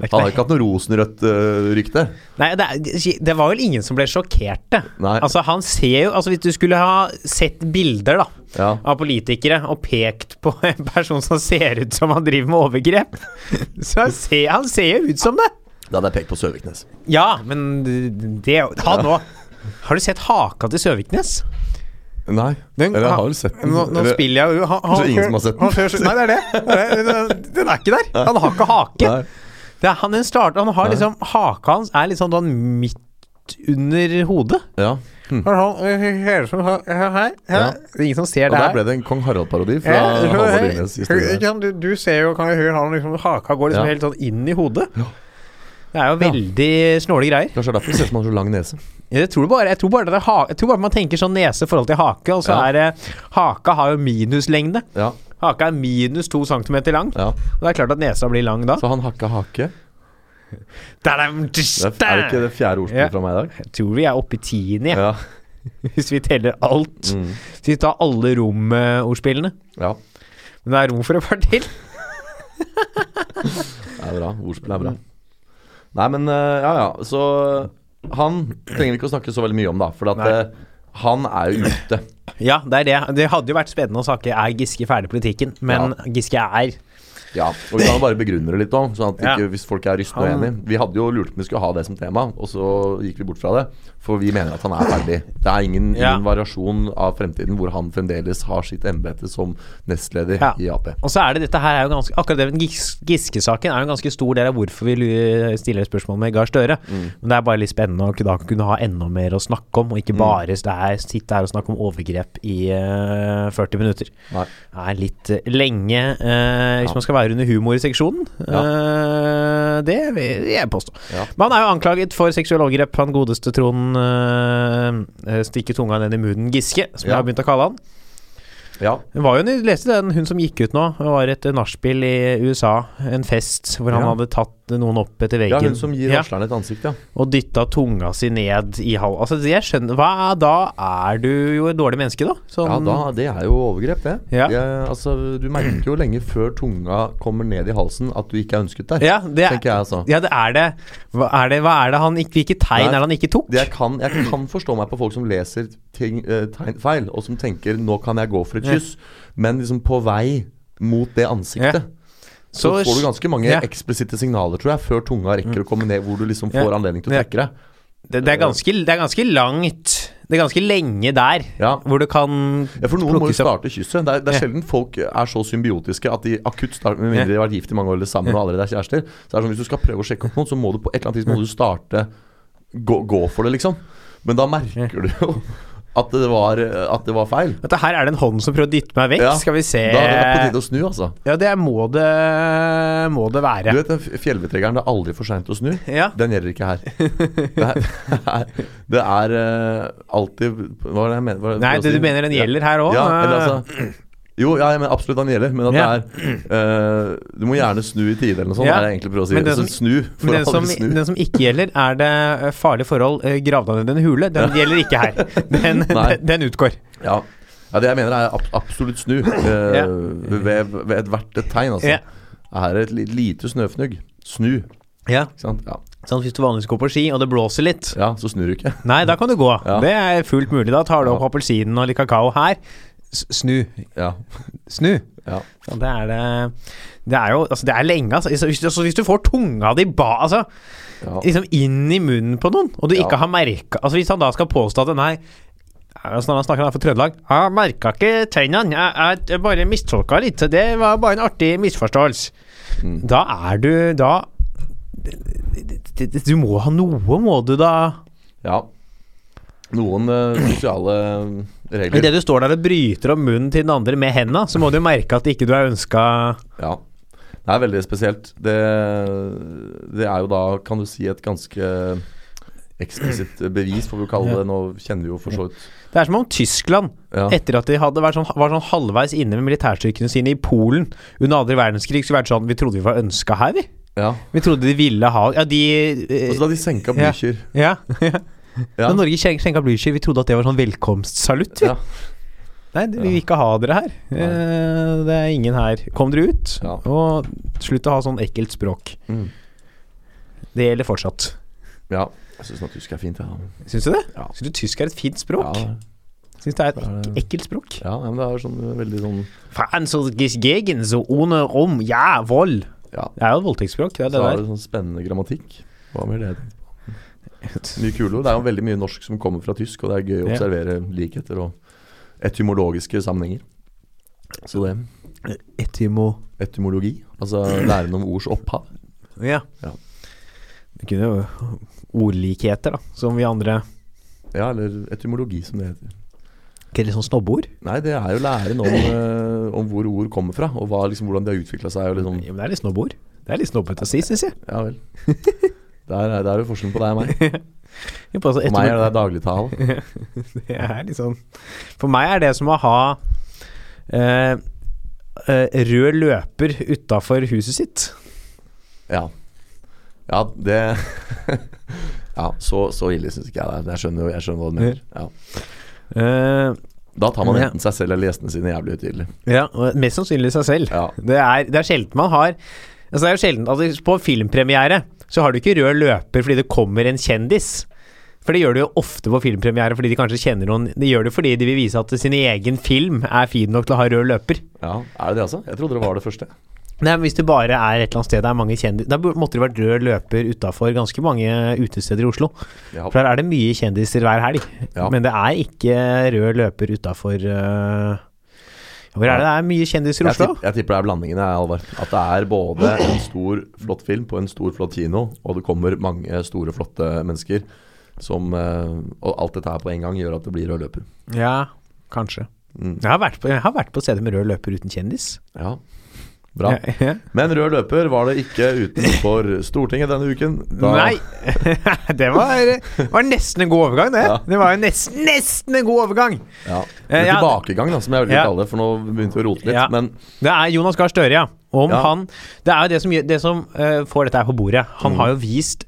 Speaker 2: Det er ikke
Speaker 3: Han har ikke hatt noe eh, rosenrødt-rykte.
Speaker 2: Nei, det, er- det var vel ingen som ble sjokkerte.
Speaker 3: Nei.
Speaker 2: Altså, han ser jo Altså, hvis du skulle ha sett bilder, da.
Speaker 3: Ja.
Speaker 2: av politikere og pekt på en person som ser ut som han driver med overgrep. Så han ser, han ser jo ut som det.
Speaker 3: Da hadde jeg pekt på Søviknes.
Speaker 2: Ja, men det er jo- Han òg. Har du sett haka til Søviknes?
Speaker 3: Nei.
Speaker 2: Den-
Speaker 3: eller jeg har vel sett den.
Speaker 2: Nå, nå
Speaker 3: Eller-
Speaker 2: spiller jeg jo han,
Speaker 3: Så ingen som har sett den?
Speaker 2: han først- nei, det er det. Det er- Den er ikke der. Han har ikke
Speaker 3: Nei.
Speaker 2: hake. Det er, han, den starter, han har
Speaker 3: Nei.
Speaker 2: liksom Haka hans er litt sånn sånn midt under hodet.
Speaker 3: Ja. Hm. Ja.
Speaker 2: Det er ingen som ser
Speaker 3: Og
Speaker 2: det
Speaker 3: der
Speaker 2: her.
Speaker 3: ble det en kong Harald-parodi fra
Speaker 2: Ja, hør-
Speaker 3: Halvor
Speaker 2: hør-
Speaker 3: Dyrnes
Speaker 2: hør-
Speaker 3: historie.
Speaker 2: ikke sant? du, du ser jo, kan jo høre han liksom, haka går liksom
Speaker 3: Ja.
Speaker 2: helt sånn inn i hodet.
Speaker 3: Ja.
Speaker 2: Det er jo
Speaker 3: Ja.
Speaker 2: veldig snåle greier.
Speaker 3: Kanskje det er derfor det ser ut som han har så lang nese.
Speaker 2: Jeg tror, bare, jeg, tror bare det er ha, jeg tror bare man tenker sånn nese i forhold til hake, og så
Speaker 3: Ja.
Speaker 2: er det Haka har jo minuslengde.
Speaker 3: Ja,
Speaker 2: Haka er minus to centimeter lang.
Speaker 3: ja.
Speaker 2: Og det er klart at nesa blir lang da.
Speaker 3: Så han hakka hake.
Speaker 2: Da-dam,
Speaker 3: Det er, er det ikke det fjerde ordspillet
Speaker 2: Ja.
Speaker 3: fra meg i dag?
Speaker 2: Jeg tror vi er oppe i tiende, jeg,
Speaker 3: Ja.
Speaker 2: hvis vi teller alt.
Speaker 3: Mm.
Speaker 2: Hvis vi tar alle romordspillene.
Speaker 3: ja.
Speaker 2: Men det er rom for et par til.
Speaker 3: Det er bra. Ordspill er bra. Nei, men eh, ja, ja. Så eh, han trenger vi ikke å snakke så veldig mye om, da. For at
Speaker 2: Nei.
Speaker 3: eh, han er jo ute.
Speaker 2: Ja, det er det. Det hadde jo vært spennende å snakke er Giske ferdig i politikken, men Giske er
Speaker 3: Ja, og Vi kan jo bare begrunne det litt òg, sånn at
Speaker 2: Ja.
Speaker 3: ikke, hvis folk er rystende
Speaker 2: Han-
Speaker 3: uenige. Vi hadde jo lurt på om vi skulle ha det som tema, og så gikk vi bort fra det. For vi mener at han er ferdig. Det er ingen,
Speaker 2: Ja.
Speaker 3: ingen variasjon av fremtiden hvor han fremdeles har sitt embete som nestleder
Speaker 2: Ja.
Speaker 3: i Ap.
Speaker 2: Og så er det dette her er jo ganske Akkurat det med Gis- Giske-saken er jo en ganske stor del av hvorfor vi lu- stiller spørsmål med Gahr Støre.
Speaker 3: Mm.
Speaker 2: Men det er bare litt spennende å kunne- da kunne ha enda mer å snakke om, og ikke bare det her- sitte her og snakke om overgrep i eh, 40 minutter.
Speaker 3: Nei.
Speaker 2: Det er litt eh, lenge eh, hvis
Speaker 3: Ja.
Speaker 2: man skal være under humorseksjonen. Eh, det vil jeg påstå.
Speaker 3: Ja.
Speaker 2: Men han er jo anklaget for seksuelle overgrep, han godeste Trond eh, Stikke tunga ned i munnen Giske, som jeg
Speaker 3: Ja.
Speaker 2: har begynt å kalle han.
Speaker 3: Ja.
Speaker 2: Det var jo en, leste den, hun som gikk ut nå, det var et nachspiel i USA, en fest, hvor han
Speaker 3: Ja.
Speaker 2: hadde tatt noen opp etter
Speaker 3: ja,
Speaker 2: veggen.
Speaker 3: hun som gir
Speaker 2: Ja,
Speaker 3: varsleren et ansikt, ja.
Speaker 2: og dytta tunga si ned i halv... Altså, jeg skjønner Hva er da? Er du jo et dårlig menneske, da? Sånn-
Speaker 3: Ja, da, Det er jo overgrep, det.
Speaker 2: Ja.
Speaker 3: det altså, du merker jo lenge før tunga kommer ned i halsen at du ikke er ønsket der.
Speaker 2: ja, det er,
Speaker 3: Tenker jeg altså.
Speaker 2: ja, det er det. Hva er det, hva er det han ikke Hvilke tegn
Speaker 3: Nei.
Speaker 2: er det han ikke tok?
Speaker 3: Det jeg, kan, jeg kan forstå meg på folk som leser ting, eh, tegn feil, og som tenker 'nå kan jeg gå for et
Speaker 2: Ja.
Speaker 3: kyss', men liksom på vei mot det ansiktet. Så, får du ganske mange
Speaker 2: Ja. Mm.
Speaker 3: eksplisitte signaler, tror jeg, før tunga rekker å komme ned hvor du liksom
Speaker 2: Ja.
Speaker 3: får anledning til å
Speaker 2: Ja.
Speaker 3: trekke deg.
Speaker 2: det, det, er ganske, det er ganske langt Det er ganske lenge der,
Speaker 3: Ja.
Speaker 2: hvor du kan
Speaker 3: Ja, for noen må jo
Speaker 2: plukkes opp.
Speaker 3: starte kysset. Det er, det er
Speaker 2: Ja.
Speaker 3: sjelden folk er så symbiotiske at de akutt starter Med mindre de har vært gift i mange år eller sammen og allerede er kjærester. Så er det sånn, Hvis du skal prøve å sjekke opp noen, så må du på et eller annet tidspunkt må du starte gå, gå for det, liksom. Men da merker du jo at det var, at det var feil.
Speaker 2: Dette her er det en hånd som prøver å dytte meg vekk.
Speaker 3: Ja,
Speaker 2: Skal vi se
Speaker 3: Da er det på tide å snu, altså.
Speaker 2: Ja, det må det, må det være.
Speaker 3: Du vet den f- fjellvettreggeren det er aldri for seint å snu?
Speaker 2: Ja.
Speaker 3: Den gjelder ikke her. Det er, det er, det er eh, alltid Hva var det jeg mener? Hva var det jeg
Speaker 2: Nei,
Speaker 3: prøvde å
Speaker 2: det du
Speaker 3: si?
Speaker 2: mener den
Speaker 3: Ja.
Speaker 2: gjelder her òg?
Speaker 3: Ja, eller altså Jo, ja, men absolutt han gjelder, men at det er eh, Du må gjerne snu i tide eller noe sånt,
Speaker 2: Ja.
Speaker 3: er det jeg egentlig prøver å si.
Speaker 2: Men den
Speaker 3: Så
Speaker 2: som-
Speaker 3: snu, for
Speaker 2: men den som,
Speaker 3: aldri snu.
Speaker 2: den som ikke gjelder, er det eh, farlige forhold, eh, grav deg ned i en hule. Den gjelder ikke her. Den,
Speaker 3: Nei.
Speaker 2: den, den utgår.
Speaker 3: Ja. ja, det jeg mener er ab absolutt snu eh,
Speaker 2: Ja.
Speaker 3: ved, ved ethvert et tegn, altså.
Speaker 2: Ja.
Speaker 3: Her er et li- lite snøfnugg. Snu, ikke
Speaker 2: Ja,
Speaker 3: sant. Ja,
Speaker 2: sånn Hvis du vanligvis går på ski, og det blåser litt,
Speaker 3: ja så snur du ikke.
Speaker 2: nei, da kan du gå.
Speaker 3: Ja.
Speaker 2: Det er fullt mulig. Da tar du opp
Speaker 3: Ja.
Speaker 2: appelsinen og litt kakao her. S snu.
Speaker 3: Ja.
Speaker 2: Snu.
Speaker 3: ja.
Speaker 2: Ja, det er det Det er jo Altså, det er lenge, altså. Hvis, altså, hvis du får tunga di ba... Altså,
Speaker 3: ja.
Speaker 2: liksom inn i munnen på noen, og du
Speaker 3: Ja.
Speaker 2: ikke har merka Altså Hvis han da skal påstå at nei Altså når han snakker han er for Trøndelag Jeg merka ikke tennene, jeg, jeg bare mistolka
Speaker 3: Mm.
Speaker 2: litt. Det var bare en artig misforståelse. Da er du Da det, det, du må ha noe, må du da?
Speaker 3: Ja. Noen eh, sosiale regler.
Speaker 2: Idet du står der og bryter opp munnen til den andre med henda, så må du jo merke at ikke du er ønska
Speaker 3: Ja. Det er veldig spesielt. Det, det er jo da, kan du si, et ganske eksplisitt bevis, får vi jo kalle det. Nå kjenner vi jo for så vidt
Speaker 2: Det er som om Tyskland,
Speaker 3: ja.
Speaker 2: etter at de hadde vært sånn, var sånn halvveis inne med militærstyrkene sine i Polen under andre verdenskrig, så vært sånn Vi trodde vi var ønska her, vi.
Speaker 3: ja.
Speaker 2: Vi trodde de ville ha Ja, de eh,
Speaker 3: Og så da de senka
Speaker 2: Ja.
Speaker 3: Blücher.
Speaker 2: Ja. ja. Da
Speaker 3: Ja.
Speaker 2: Norge skjen- skjenka Blücher, vi trodde at det var sånn velkomstsalutt. vi.
Speaker 3: Ja.
Speaker 2: Nei, det- vi vil ikke ha dere her.
Speaker 3: Nei.
Speaker 2: Eh, Det er ingen her. Kom dere ut,
Speaker 3: Ja.
Speaker 2: og slutt å ha sånn ekkelt språk.
Speaker 3: Mm.
Speaker 2: Det gjelder fortsatt.
Speaker 3: ja. Jeg syns nå tysk er fint, jeg. Ja.
Speaker 2: Syns du det?
Speaker 3: Ja.
Speaker 2: Syns du tysk er et fint språk?
Speaker 3: Ja,
Speaker 2: Syns det er et
Speaker 3: Det er-
Speaker 2: ek ekkelt språk?
Speaker 3: ja, men det er sånn eh, veldig sånn
Speaker 2: Faen, så gegen, så ohne rom, ja, vold.
Speaker 3: Ja.
Speaker 2: Det er jo et voldtektsspråk, det er
Speaker 3: Så
Speaker 2: det der.
Speaker 3: har det sånn spennende grammatikk. Hva mer det? Mye kule ord. Det er jo veldig mye norsk som kommer fra tysk, og det er gøy å
Speaker 2: Ja.
Speaker 3: observere likheter og etymologiske sammenhenger. Så det
Speaker 2: Etymo...
Speaker 3: Etymologi, altså læren om ords opphav.
Speaker 2: Ja.
Speaker 3: Ja.
Speaker 2: Det kunne jo ordlikheter, da, som vi andre
Speaker 3: Ja, eller etymologi, som det heter.
Speaker 2: Ikke litt sånn snobbeord?
Speaker 3: Nei, det er jo læren om, eh, om hvor ord kommer fra, og hva, liksom, hvordan de har utvikla seg. Og liksom,
Speaker 2: Mm. Ja, men det er litt snobbeord. Det er litt snobbete å si, syns jeg.
Speaker 3: ja vel. Der er, der er jo forskjellen på deg og meg.
Speaker 2: Jeg passer
Speaker 3: For
Speaker 2: etter-
Speaker 3: meg er det der dagligtale.
Speaker 2: Det er litt sånn For meg er det som å ha eh, eh, rød løper utafor huset sitt.
Speaker 3: Ja. ja, det Ja, så, så ille syns ikke jeg det er. Jeg skjønner, jo- jeg skjønner hva du mener. Ja.
Speaker 2: Eh,
Speaker 3: Da tar man
Speaker 2: Ja.
Speaker 3: enten seg selv eller gjestene sine jævlig høytidelig.
Speaker 2: ja, og mest sannsynlig seg selv.
Speaker 3: Ja.
Speaker 2: Det er, det er sjelden man har Altså det er jo sjelden altså På filmpremiere så har du ikke rød løper fordi det kommer en kjendis. For det gjør du jo ofte på filmpremiere fordi de kanskje kjenner noen. De gjør det fordi de vil vise at sin egen film er fin nok til å ha rød løper.
Speaker 3: ja. Er det det, altså? Jeg trodde det var det første.
Speaker 2: Nei, men Hvis det bare er et eller annet sted det er mange kjendiser Da bur- måtte det vært rød løper utafor ganske mange utesteder i Oslo.
Speaker 3: Ja.
Speaker 2: For der er det mye kjendiser hver helg.
Speaker 3: Ja.
Speaker 2: Men det er ikke rød løper utafor øh, Hvor er det det er mye kjendiser i
Speaker 3: Jeg,
Speaker 2: Oslo?
Speaker 3: tipp, jeg tipper det er blandingen, jeg, Alvar. At det er både en stor, flott film på en stor, flott kino, og det kommer mange store, flotte mennesker. Som, eh, og alt dette her på en gang gjør at det blir rød løper.
Speaker 2: Ja, kanskje.
Speaker 3: Mm.
Speaker 2: Jeg har vært på, jeg har vært på steder med rød løper uten kjendis.
Speaker 3: Ja. Bra.
Speaker 2: Ja, ja.
Speaker 3: Men rød løper var det ikke utenfor Stortinget denne uken. Da-
Speaker 2: Nei! det var, var nesten en god overgang, det.
Speaker 3: Ja.
Speaker 2: Det var jo nesten, nesten en god overgang!
Speaker 3: Ja.
Speaker 2: Eh,
Speaker 3: Men
Speaker 2: ja.
Speaker 3: tilbakegang, da, som jeg vil
Speaker 2: Ja.
Speaker 3: kalle det, for nå begynte vi å rote litt.
Speaker 2: Ja.
Speaker 3: Men
Speaker 2: Det er Jonas Gahr Støre, ja. Om
Speaker 3: Ja.
Speaker 2: han Det er jo det som, gjør- det som eh, får dette her på bordet.
Speaker 3: Mm.
Speaker 2: Han har jo vist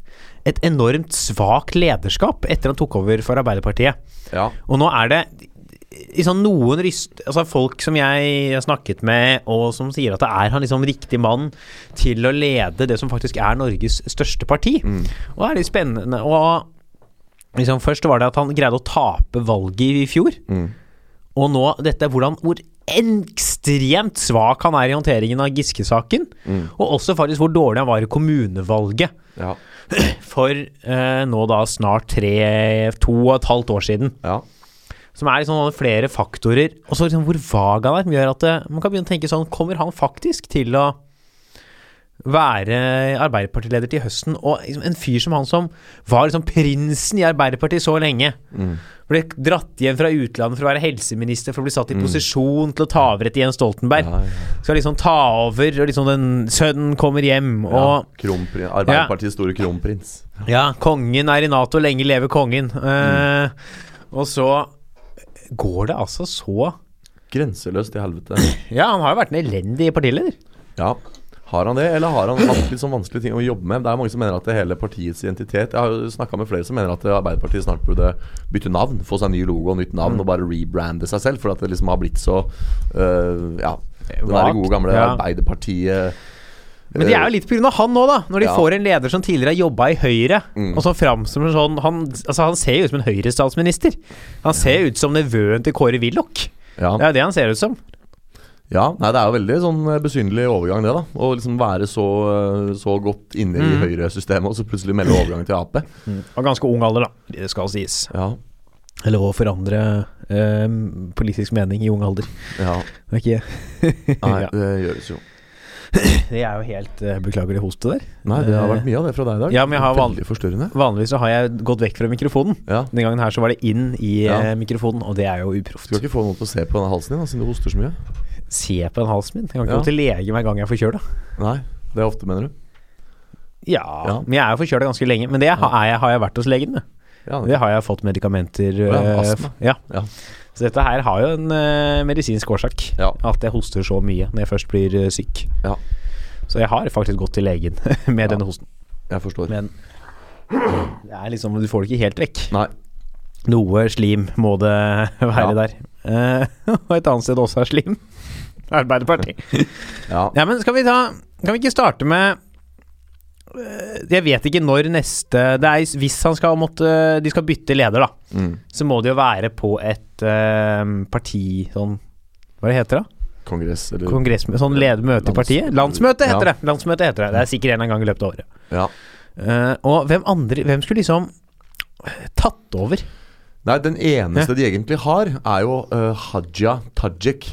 Speaker 2: et enormt svakt lederskap etter han tok over for Arbeiderpartiet.
Speaker 3: ja.
Speaker 2: Og nå er det i sånn noen ryst, altså folk som jeg har snakket med, og som sier at det er han liksom riktig mann til å lede det som faktisk er Norges største parti. Og det er litt spennende. Og liksom først var det at han greide å tape valget i fjor.
Speaker 3: Mm.
Speaker 2: Og nå dette hvordan, hvor ekstremt svak han er i håndteringen av Giske-saken. Og også faktisk hvor dårlig han var i kommunevalget
Speaker 3: Ja.
Speaker 2: for eh, nå da snart tre, to og et halvt år siden.
Speaker 3: ja.
Speaker 2: Som er liksom sånne flere faktorer, og så liksom hvor vag han er, som gjør at eh, man kan begynne å tenke sånn Kommer han faktisk til å være Arbeiderpartileder til høsten? Og liksom en fyr som han som var liksom prinsen i Arbeiderpartiet så lenge.
Speaker 3: Mm.
Speaker 2: Ble dratt hjem fra utlandet for å være helseminister, for å bli satt i posisjon til å ta over etter Jens Stoltenberg.
Speaker 3: Mm. ja, ja.
Speaker 2: Skal liksom ta over, og liksom den sønnen kommer hjem, og
Speaker 3: Ja, kronprin- Arbeiderpartiets store kronprins.
Speaker 2: ja, kongen er i Nato, lenge leve kongen.
Speaker 3: Mm.
Speaker 2: Eh, Og så går det altså så
Speaker 3: Grenseløst til helvete.
Speaker 2: Ja, han har jo vært en elendig partileder.
Speaker 3: Ja. Har han det, eller har han hatt litt sånn vanskelige ting å jobbe med? Det er mange som mener at det hele partiets identitet Jeg har jo snakka med flere som mener at Arbeiderpartiet snart burde bytte navn, få seg ny logo og nytt
Speaker 2: Mm.
Speaker 3: navn, og bare rebrande seg selv, for at det liksom har blitt så øh, Ja. Det der
Speaker 2: Vagt,
Speaker 3: gode gamle
Speaker 2: ja.
Speaker 3: Arbeiderpartiet
Speaker 2: Men det er jo litt pga. han nå, da. Når de
Speaker 3: Ja.
Speaker 2: får en leder som tidligere har jobba i Høyre, og som framstår som sånn han, altså, han ser jo ut som en Høyre-statsminister. Han ser ut som nevøen til Kåre Willoch.
Speaker 3: ja.
Speaker 2: Det er jo det han ser ut som.
Speaker 3: Ja, nei, det er jo veldig sånn eh, besynderlig overgang, det. da Å liksom være så, eh, så godt inne
Speaker 2: Mm.
Speaker 3: i Høyre-systemet, og så plutselig melde overgang til Ap.
Speaker 2: Av ganske ung alder, da. Det skal sies.
Speaker 3: Ja,
Speaker 2: Eller å forandre eh, politisk mening i ung alder.
Speaker 3: ja.
Speaker 2: Det er ikke
Speaker 3: Nei,
Speaker 2: Ja.
Speaker 3: det gjøres jo.
Speaker 2: Det er jo helt eh, Beklager det hostet der.
Speaker 3: Nei, det har vært mye av det fra deg i dag.
Speaker 2: Ja, men jeg har van-
Speaker 3: Veldig forstyrrende.
Speaker 2: Vanligvis så har jeg gått vekk fra mikrofonen.
Speaker 3: Ja.
Speaker 2: Den gangen her så var det inn i
Speaker 3: Ja.
Speaker 2: eh, mikrofonen, og det er jo uproft.
Speaker 3: Skal ikke få noen til å se på denne halsen din, da, siden du hoster så mye.
Speaker 2: Se på den halsen min. Jeg kan ikke
Speaker 3: Ja.
Speaker 2: gå til lege hver gang jeg er forkjøla.
Speaker 3: Nei, det er ofte, mener du?
Speaker 2: Ja,
Speaker 3: Ja.
Speaker 2: men jeg er jo forkjøla ganske lenge. Men det har- er jeg, har jeg vært hos legen med.
Speaker 3: Ja,
Speaker 2: Det har jeg fått medikamenter
Speaker 3: ja,
Speaker 2: eh,
Speaker 3: astma.
Speaker 2: f- Ja.
Speaker 3: Ja.
Speaker 2: Så dette her har jo en eh, medisinsk årsak.
Speaker 3: Ja.
Speaker 2: At jeg hoster så mye når jeg først blir eh, syk.
Speaker 3: Ja.
Speaker 2: Så jeg har faktisk gått til legen med
Speaker 3: Ja.
Speaker 2: denne hosten.
Speaker 3: jeg forstår.
Speaker 2: Men det er liksom, du får det ikke helt vekk.
Speaker 3: Nei.
Speaker 2: Noe slim må det være der. Eh, og et annet sted det også er slim. Arbeiderpartiet.
Speaker 3: Ja.
Speaker 2: Ja, men skal vi ta Kan vi ikke starte med eh, Jeg vet ikke når neste det er, Hvis han skal måtte De skal bytte leder, da.
Speaker 3: Mm.
Speaker 2: Så må det jo være på et eh, parti Sånn Hva det heter det? da?
Speaker 3: Kongress, eller
Speaker 2: Kongress, sånn leder møte i partiet? Landsmøte heter
Speaker 3: Ja.
Speaker 2: det! Landsmøte heter det. Det er sikkert en eller annen gang i løpet av året.
Speaker 3: Ja.
Speaker 2: Eh, og hvem andre Hvem skulle liksom tatt over?
Speaker 3: Nei, den eneste de egentlig har, er jo eh, Hadia Tajik.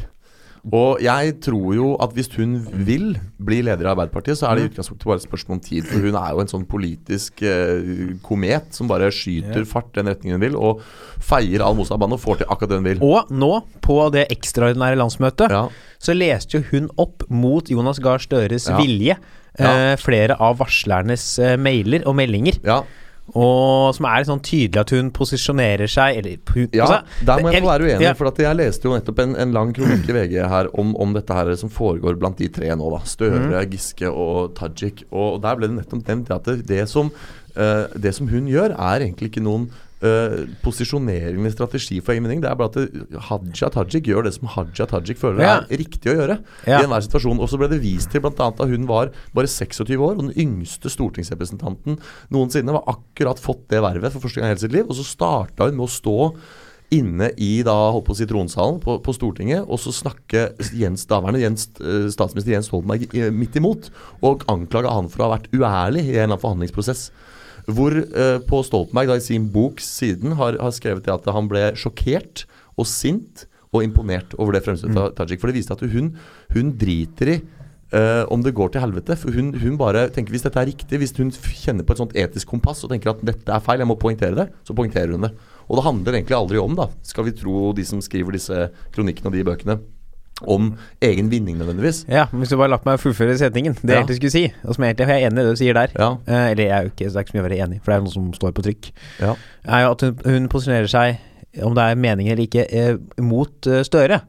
Speaker 3: Og jeg tror jo at hvis hun vil bli leder av Arbeiderpartiet, så er det i utgangspunktet bare et spørsmål om tid. For hun er jo en sånn politisk eh, komet som bare skyter fart den retningen hun vil, og feier all motstandbane og får til akkurat det hun vil.
Speaker 2: Og nå, på det ekstraordinære landsmøtet,
Speaker 3: Ja,
Speaker 2: så leste jo hun opp mot Jonas Gahr Støres
Speaker 3: Ja.
Speaker 2: vilje
Speaker 3: Ja.
Speaker 2: eh, flere av varslernes eh, mailer og meldinger.
Speaker 3: ja,
Speaker 2: Og som er sånn tydelig at hun posisjonerer seg eller hun,
Speaker 3: ja
Speaker 2: altså,
Speaker 3: der må jeg
Speaker 2: jeg-
Speaker 3: få være uenig.
Speaker 2: ja.
Speaker 3: For at jeg leste jo nettopp en, en lang kronikk i VG her om, om dette her som foregår blant de tre nå, da. Støre,
Speaker 2: Mhm.
Speaker 3: Giske og Tajik. Og der ble det nettopp nevnt at det, det, som, eh, det som hun gjør, er egentlig ikke noen eh, posisjonering eller strategi for egen mening. Det er bare at det, Hadia Tajik gjør det som Hadia Tajik føler
Speaker 2: Ja.
Speaker 3: er riktig å gjøre.
Speaker 2: Ja.
Speaker 3: I enhver situasjon. Og så ble det vist til bl.a. da hun var bare 26 år, og den yngste stortingsrepresentanten noensinne var akkurat fått det vervet for første gang i hele sitt liv. Og så starta hun med å stå inne i da, holdt på å si tronsalen på, på Stortinget, og så snakke Jens, daværende Jens, eh, statsminister Jens Stoltenberg eh, midt imot, og anklage han for å ha vært uærlig i en eller annen forhandlingsprosess. Hvor eh, på Stoltenberg da, i sin bok siden har, har skrevet det at han ble sjokkert og sint og imponert over det fremstøtet av Tajik. For det viste at hun, hun driter i eh, om det går til helvete. For hun, hun bare tenker hvis dette er riktig, hvis hun f- kjenner på et sånt etisk kompass og tenker at dette er feil, jeg må poengtere det, så poengterer hun det. Og det handler egentlig aldri om, da, skal vi tro de som skriver disse kronikkene og de bøkene, om egen vinning nødvendigvis.
Speaker 2: Ja, men Hvis du bare latt meg fullføre setningen, det
Speaker 3: Ja.
Speaker 2: jeg egentlig skulle si, og som jeg egentlig jeg er enig i det du sier der
Speaker 3: Ja.
Speaker 2: eh, Eller jeg er jo ikke, så det er ikke så mye å være enig i, for det er jo noe som står på trykk.
Speaker 3: Ja.
Speaker 2: er jo at hun, hun posisjonerer seg, om det er meningen eller ikke, eh, mot eh, Støre.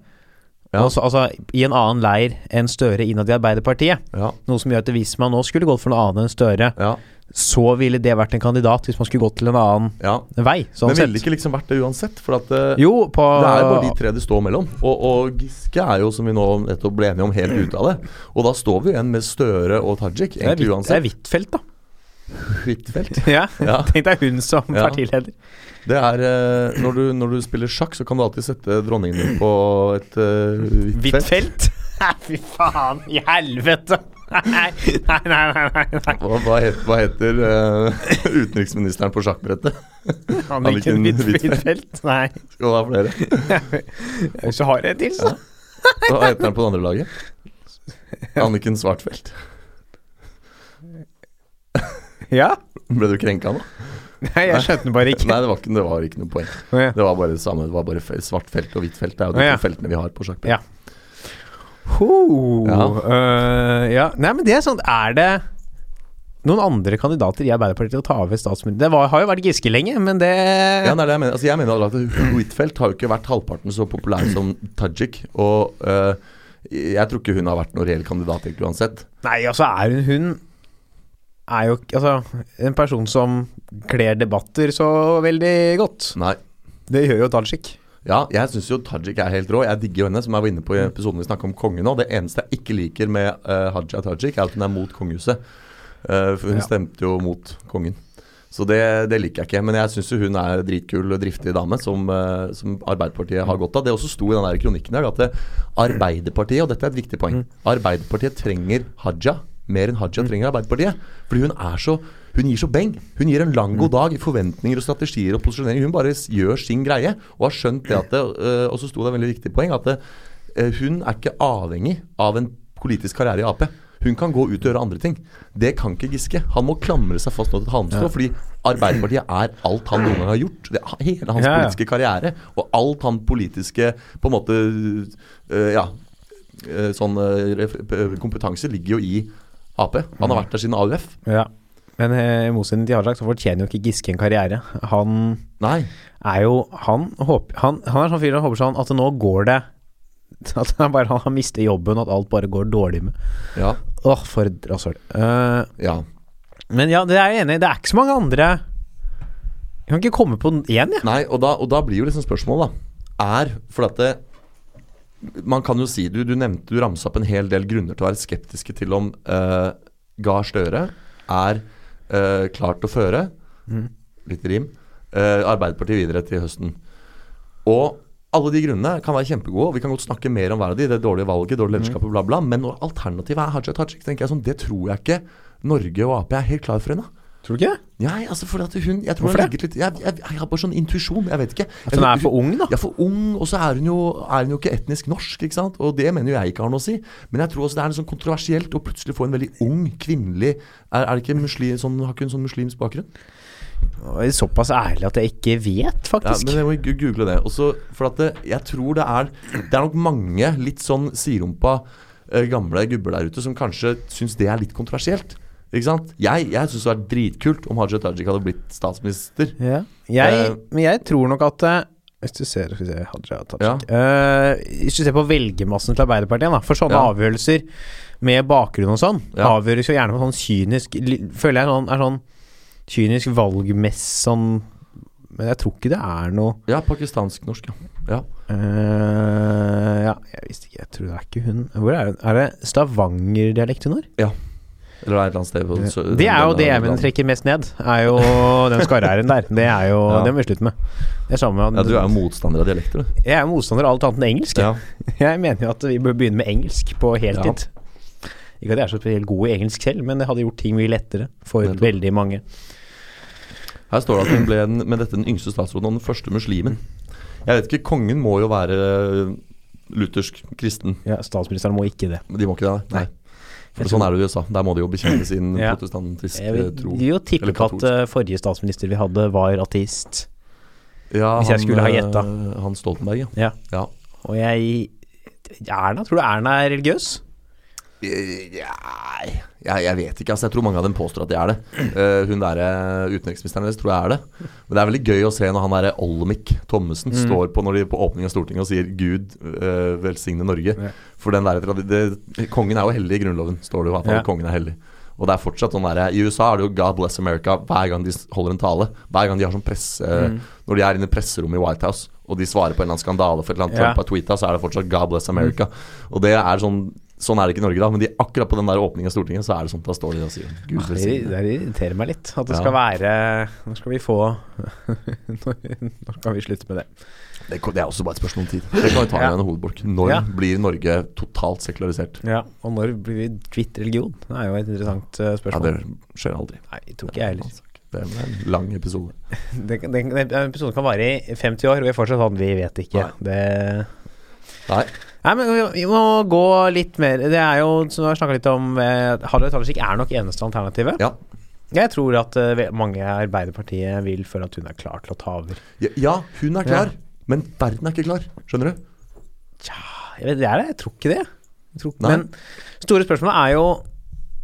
Speaker 3: Ja.
Speaker 2: Altså, altså i en annen leir enn Støre innad i Arbeiderpartiet.
Speaker 3: Ja.
Speaker 2: Noe som gjør at hvis man nå skulle gått for noe annet enn Støre,
Speaker 3: Ja.
Speaker 2: så ville det vært en kandidat hvis man skulle gått til en annen
Speaker 3: ja.
Speaker 2: vei. Sånn
Speaker 3: Men ville det
Speaker 2: sett.
Speaker 3: ikke liksom vært det uansett? For at eh,
Speaker 2: Jo, på
Speaker 3: Det er bare
Speaker 2: Ah.
Speaker 3: de tre det står mellom. Og, og Giske er jo, som vi nå nettopp ble enige om, helt ute av det. Og da står vi igjen med Støre og Tajik,
Speaker 2: Det er
Speaker 3: egentlig
Speaker 2: Hvit- det er
Speaker 3: uansett.
Speaker 2: Huitfeldt, da.
Speaker 3: Huitfeldt.
Speaker 2: Ja.
Speaker 3: Ja.
Speaker 2: Tenk deg hun som
Speaker 3: Ja.
Speaker 2: partileder.
Speaker 3: Det er eh, når, du, når du spiller sjakk, så kan du alltid sette dronningen din på et uh, hvitt felt.
Speaker 2: Huitfeldt? Nei, Fy faen i helvete! Nei, nei, nei. nei, nei, nei.
Speaker 3: Hva, hva, het, hva heter eh, utenriksministeren på sjakkbrettet? Anniken
Speaker 2: Anniken Huitfeldt? Nei.
Speaker 3: Skal du ha flere?
Speaker 2: Og så har jeg en til, så.
Speaker 3: Hva heter han på det andre laget? Anniken Svartfeldt.
Speaker 2: Ja.
Speaker 3: Ble du krenka nå?
Speaker 2: Nei, jeg skjønte den bare ikke.
Speaker 3: Nei, det var ikke, det var ikke noe poeng.
Speaker 2: Å, ja.
Speaker 3: Det var bare det samme. Det var bare fe- svart felt og hvitt felt. Det er jo de
Speaker 2: Ja.
Speaker 3: to feltene vi har på
Speaker 2: Ja.
Speaker 3: sjakkbrettet.
Speaker 2: Ho, ja.
Speaker 3: Ja.
Speaker 2: Eh, ja. Nei, men det er sånn Er det noen andre kandidater i Arbeiderpartiet til å ta over statsminister? Det var, har jo vært Giske lenge, men det
Speaker 3: Ja, det er det jeg mener. Altså, jeg mener jo at Huitfeldt har jo ikke vært halvparten så populær som Tajik. Og eh, jeg tror ikke hun har vært noen reell kandidat egentlig uansett.
Speaker 2: Nei, altså er hun Hun er jo ikke- altså, en person som kler debatter så veldig godt.
Speaker 3: Nei.
Speaker 2: Det gjør jo Tajik.
Speaker 3: Ja, jeg syns jo Tajik er helt rå. Jeg digger jo henne, som jeg var inne på i episoden vi snakket om kongen nå. Det eneste jeg ikke liker med eh, Hadia Tajik, er at hun er mot kongehuset. Eh, for hun
Speaker 2: Ja.
Speaker 3: stemte jo mot kongen. Så det, det liker jeg ikke. Men jeg syns jo hun er en dritkul og driftig dame, som, eh, som Arbeiderpartiet har godt av. Det også sto i den der kronikken her at det, Arbeiderpartiet, og dette er et viktig poeng, Arbeiderpartiet trenger Haja mer enn Haja trenger Arbeiderpartiet. Fordi hun er så hun gir så beng. Hun gir en lang god dag i forventninger og strategier og posisjonering. Hun bare s- gjør sin greie og har skjønt det at det, eh, Og så sto det et veldig viktig poeng at det, eh, hun er ikke avhengig av en politisk karriere i Ap. Hun kan gå ut og gjøre andre ting. Det kan ikke Giske. Han må klamre seg fast nå til et halmstrå, fordi Arbeiderpartiet er alt han noen gang har gjort. Det er hele hans
Speaker 2: Ja, ja.
Speaker 3: politiske karriere og alt han politiske på en måte øh, Ja, øh, sånn øh, ref- p- kompetanse ligger jo i Ap. Han har
Speaker 2: Mm.
Speaker 3: vært der siden AUF.
Speaker 2: Ja. Men eh, i motsetning til Jarlak så fortjener jo ikke Giske en karriere. Han
Speaker 3: Nei.
Speaker 2: er jo Han, håper, han, han er sånn fyr som håper sånn at nå går det At han bare han har mistet jobben, at alt bare går dårlig med
Speaker 3: Ja.
Speaker 2: Åh, for et rasshøl. Eh,
Speaker 3: ja.
Speaker 2: men ja, det er jeg enig i. Det er ikke så mange andre Jeg kan ikke komme på én, jeg.
Speaker 3: Nei, og da, og da blir jo liksom spørsmålet, da. Er For at det, man kan jo si Du, du nevnte du ramsa opp en hel del grunner til å være skeptiske til om eh, Gahr Støre er eh, klart å føre Litt rim. eh, Arbeiderpartiet videre til høsten. Og alle de grunnene kan være kjempegode, og vi kan godt snakke mer om hver av de, det dårlige valget, dårlig lederskap og bla, bla, men når alternativet er Haja Tajik, tenker jeg sånn, det tror jeg ikke Norge og Ap er helt klar for ennå.
Speaker 2: Tror du ikke det?
Speaker 3: Nei, altså fordi at hun Jeg tror
Speaker 2: Hvorfor
Speaker 3: hun
Speaker 2: det?
Speaker 3: legger litt jeg, jeg, jeg har bare sånn intuisjon, jeg vet ikke.
Speaker 2: At hun er for ung, da?
Speaker 3: Ja, for ung, og så er hun, jo, er hun jo ikke etnisk norsk, ikke sant. Og det mener jo jeg ikke har noe å si. Men jeg tror også det er litt sånn kontroversielt å plutselig få en veldig ung, kvinnelig Er, er det ikke muslim, sånn, Har ikke hun sånn muslimsk bakgrunn?
Speaker 2: Og jeg er Såpass ærlig at jeg ikke vet,
Speaker 3: Ja,
Speaker 2: faktisk.
Speaker 3: men jeg må gu- google det. Også, for at det, jeg tror det er Det er nok mange litt sånn siderumpa eh, gamle gubber der ute som kanskje syns det er litt kontroversielt. Ikke sant? Jeg, jeg syns det hadde vært dritkult om Haja Tajik hadde blitt statsminister.
Speaker 2: Ja. Jeg,
Speaker 3: Eh,
Speaker 2: men jeg tror nok at eh, Hvis du ser skal vi se, Hadia Tajik Eh, Hvis du ser på velgermassen til Arbeiderpartiet, da, for sånne
Speaker 3: Ja.
Speaker 2: avgjørelser med bakgrunn og sånn,
Speaker 3: Ja.
Speaker 2: avgjøres jo gjerne på sånn kynisk li- Føler jeg sånn, er sånn kynisk valgmess sånn Men jeg tror ikke det er noe
Speaker 3: Ja, pakistansk-norsk, ja. ja.
Speaker 2: eh, Ja, jeg visste ikke Jeg tror det er ikke hun Hvor er hun? Er det Stavanger-dialekt hun har?
Speaker 3: Eller det er et eller annet sted på sø-
Speaker 2: Det er jo
Speaker 3: den-
Speaker 2: det jeg
Speaker 3: den-
Speaker 2: mener trekker mest ned, er jo den skarre-r-en der. Det er jo
Speaker 3: Ja.
Speaker 2: Det må vi slutte med. Det er samme
Speaker 3: Ja, du er jo motstander av dialekter, du.
Speaker 2: Jeg er motstander av alt annet enn engelsk.
Speaker 3: Ja.
Speaker 2: Jeg mener jo at vi bør begynne med engelsk på heltid. Ikke at jeg er så spesielt god i engelsk selv, men det hadde gjort ting mye lettere for
Speaker 3: Nettopp.
Speaker 2: veldig mange.
Speaker 3: Her står det at hun ble den, med dette den yngste statsråden og den første muslimen. Jeg vet ikke, kongen må jo være eh, luthersk kristen.
Speaker 2: Ja, statsministeren må ikke det.
Speaker 3: Men de må ikke det, nei. For
Speaker 2: Jeg
Speaker 3: sånn
Speaker 2: tror-
Speaker 3: er det i USA. Der må de jo bekjenne sin
Speaker 2: Ja.
Speaker 3: protestantiske
Speaker 2: Jeg vil,
Speaker 3: eh, tro.
Speaker 2: vil jo tippe
Speaker 3: Eller
Speaker 2: på at eh, forrige statsminister vi hadde, var ateist.
Speaker 3: Ja,
Speaker 2: hvis jeg
Speaker 3: han,
Speaker 2: skulle ha
Speaker 3: eh,
Speaker 2: gjetta.
Speaker 3: Han Stoltenberg,
Speaker 2: Ja.
Speaker 3: ja.
Speaker 2: Og jeg Erna? Tror du Erna er religiøs?
Speaker 3: Nei, jeg, jeg vet ikke. Altså, jeg tror mange av dem påstår at de er det. Eh, hun der, eh, utenriksministeren deres tror jeg er det. Men det er veldig gøy å se når han der Olemic Thommessen
Speaker 2: Mm.
Speaker 3: står på, når de, på åpning av Stortinget og sier 'Gud eh, velsigne Norge'.
Speaker 2: Ja.
Speaker 3: For den der, tradi- det, Kongen er jo hellig i Grunnloven, står det jo. i hvert fall.
Speaker 2: Ja.
Speaker 3: Kongen er hellig. Og det er fortsatt sånn der, I USA er det jo 'God bless America' hver gang de s- holder en tale. Hver gang de har sånn presse
Speaker 2: Mm.
Speaker 3: Når de er inne i presserommet i White House og de svarer på en eller annen skandale for et eller annet
Speaker 2: Ja.
Speaker 3: Trump har tweeta, så er det fortsatt 'God bless America'. Og det er sånn Sånn er det ikke i Norge, da, men de, akkurat på den der åpningen av Stortinget, så er det sånn da står de og sier Gud
Speaker 2: Ah, Det,
Speaker 3: velsigne.
Speaker 2: det irriterer meg litt. At det
Speaker 3: Ja.
Speaker 2: skal være Når skal vi få Når skal vi slutte med det?
Speaker 3: Det, kan- det er også bare et spørsmål om tid. Det kan vi ta med
Speaker 2: Ja.
Speaker 3: en hovedbolk. Når
Speaker 2: Ja.
Speaker 3: blir Norge totalt sekularisert?
Speaker 2: Ja, Og når blir vi kvitt religion? Det er jo et interessant eh,
Speaker 3: Ja,
Speaker 2: spørsmål.
Speaker 3: det skjer aldri.
Speaker 2: Nei, jeg tror ikke jeg heller.
Speaker 3: Det er en lang episode.
Speaker 2: Den, den, den episoden kan vare i 50 år, og vi er fortsatt sånn Vi vet ikke.
Speaker 3: Nei.
Speaker 2: Det
Speaker 3: Nei,
Speaker 2: Nei, men vi, vi må gå litt mer Det er jo, som vi har snakka litt om eh, Hadia Tajik er nok eneste alternativet.
Speaker 3: ja.
Speaker 2: Jeg tror at eh, ve- mange i Arbeiderpartiet vil føle at hun er klar til å ta over.
Speaker 3: Ja, ja, hun er klar,
Speaker 2: Ja.
Speaker 3: men verden er ikke klar. Skjønner du?
Speaker 2: Jeg vet, det er det, jeg tror ikke det. Jeg tror,
Speaker 3: Nei.
Speaker 2: men store spørsmålet er jo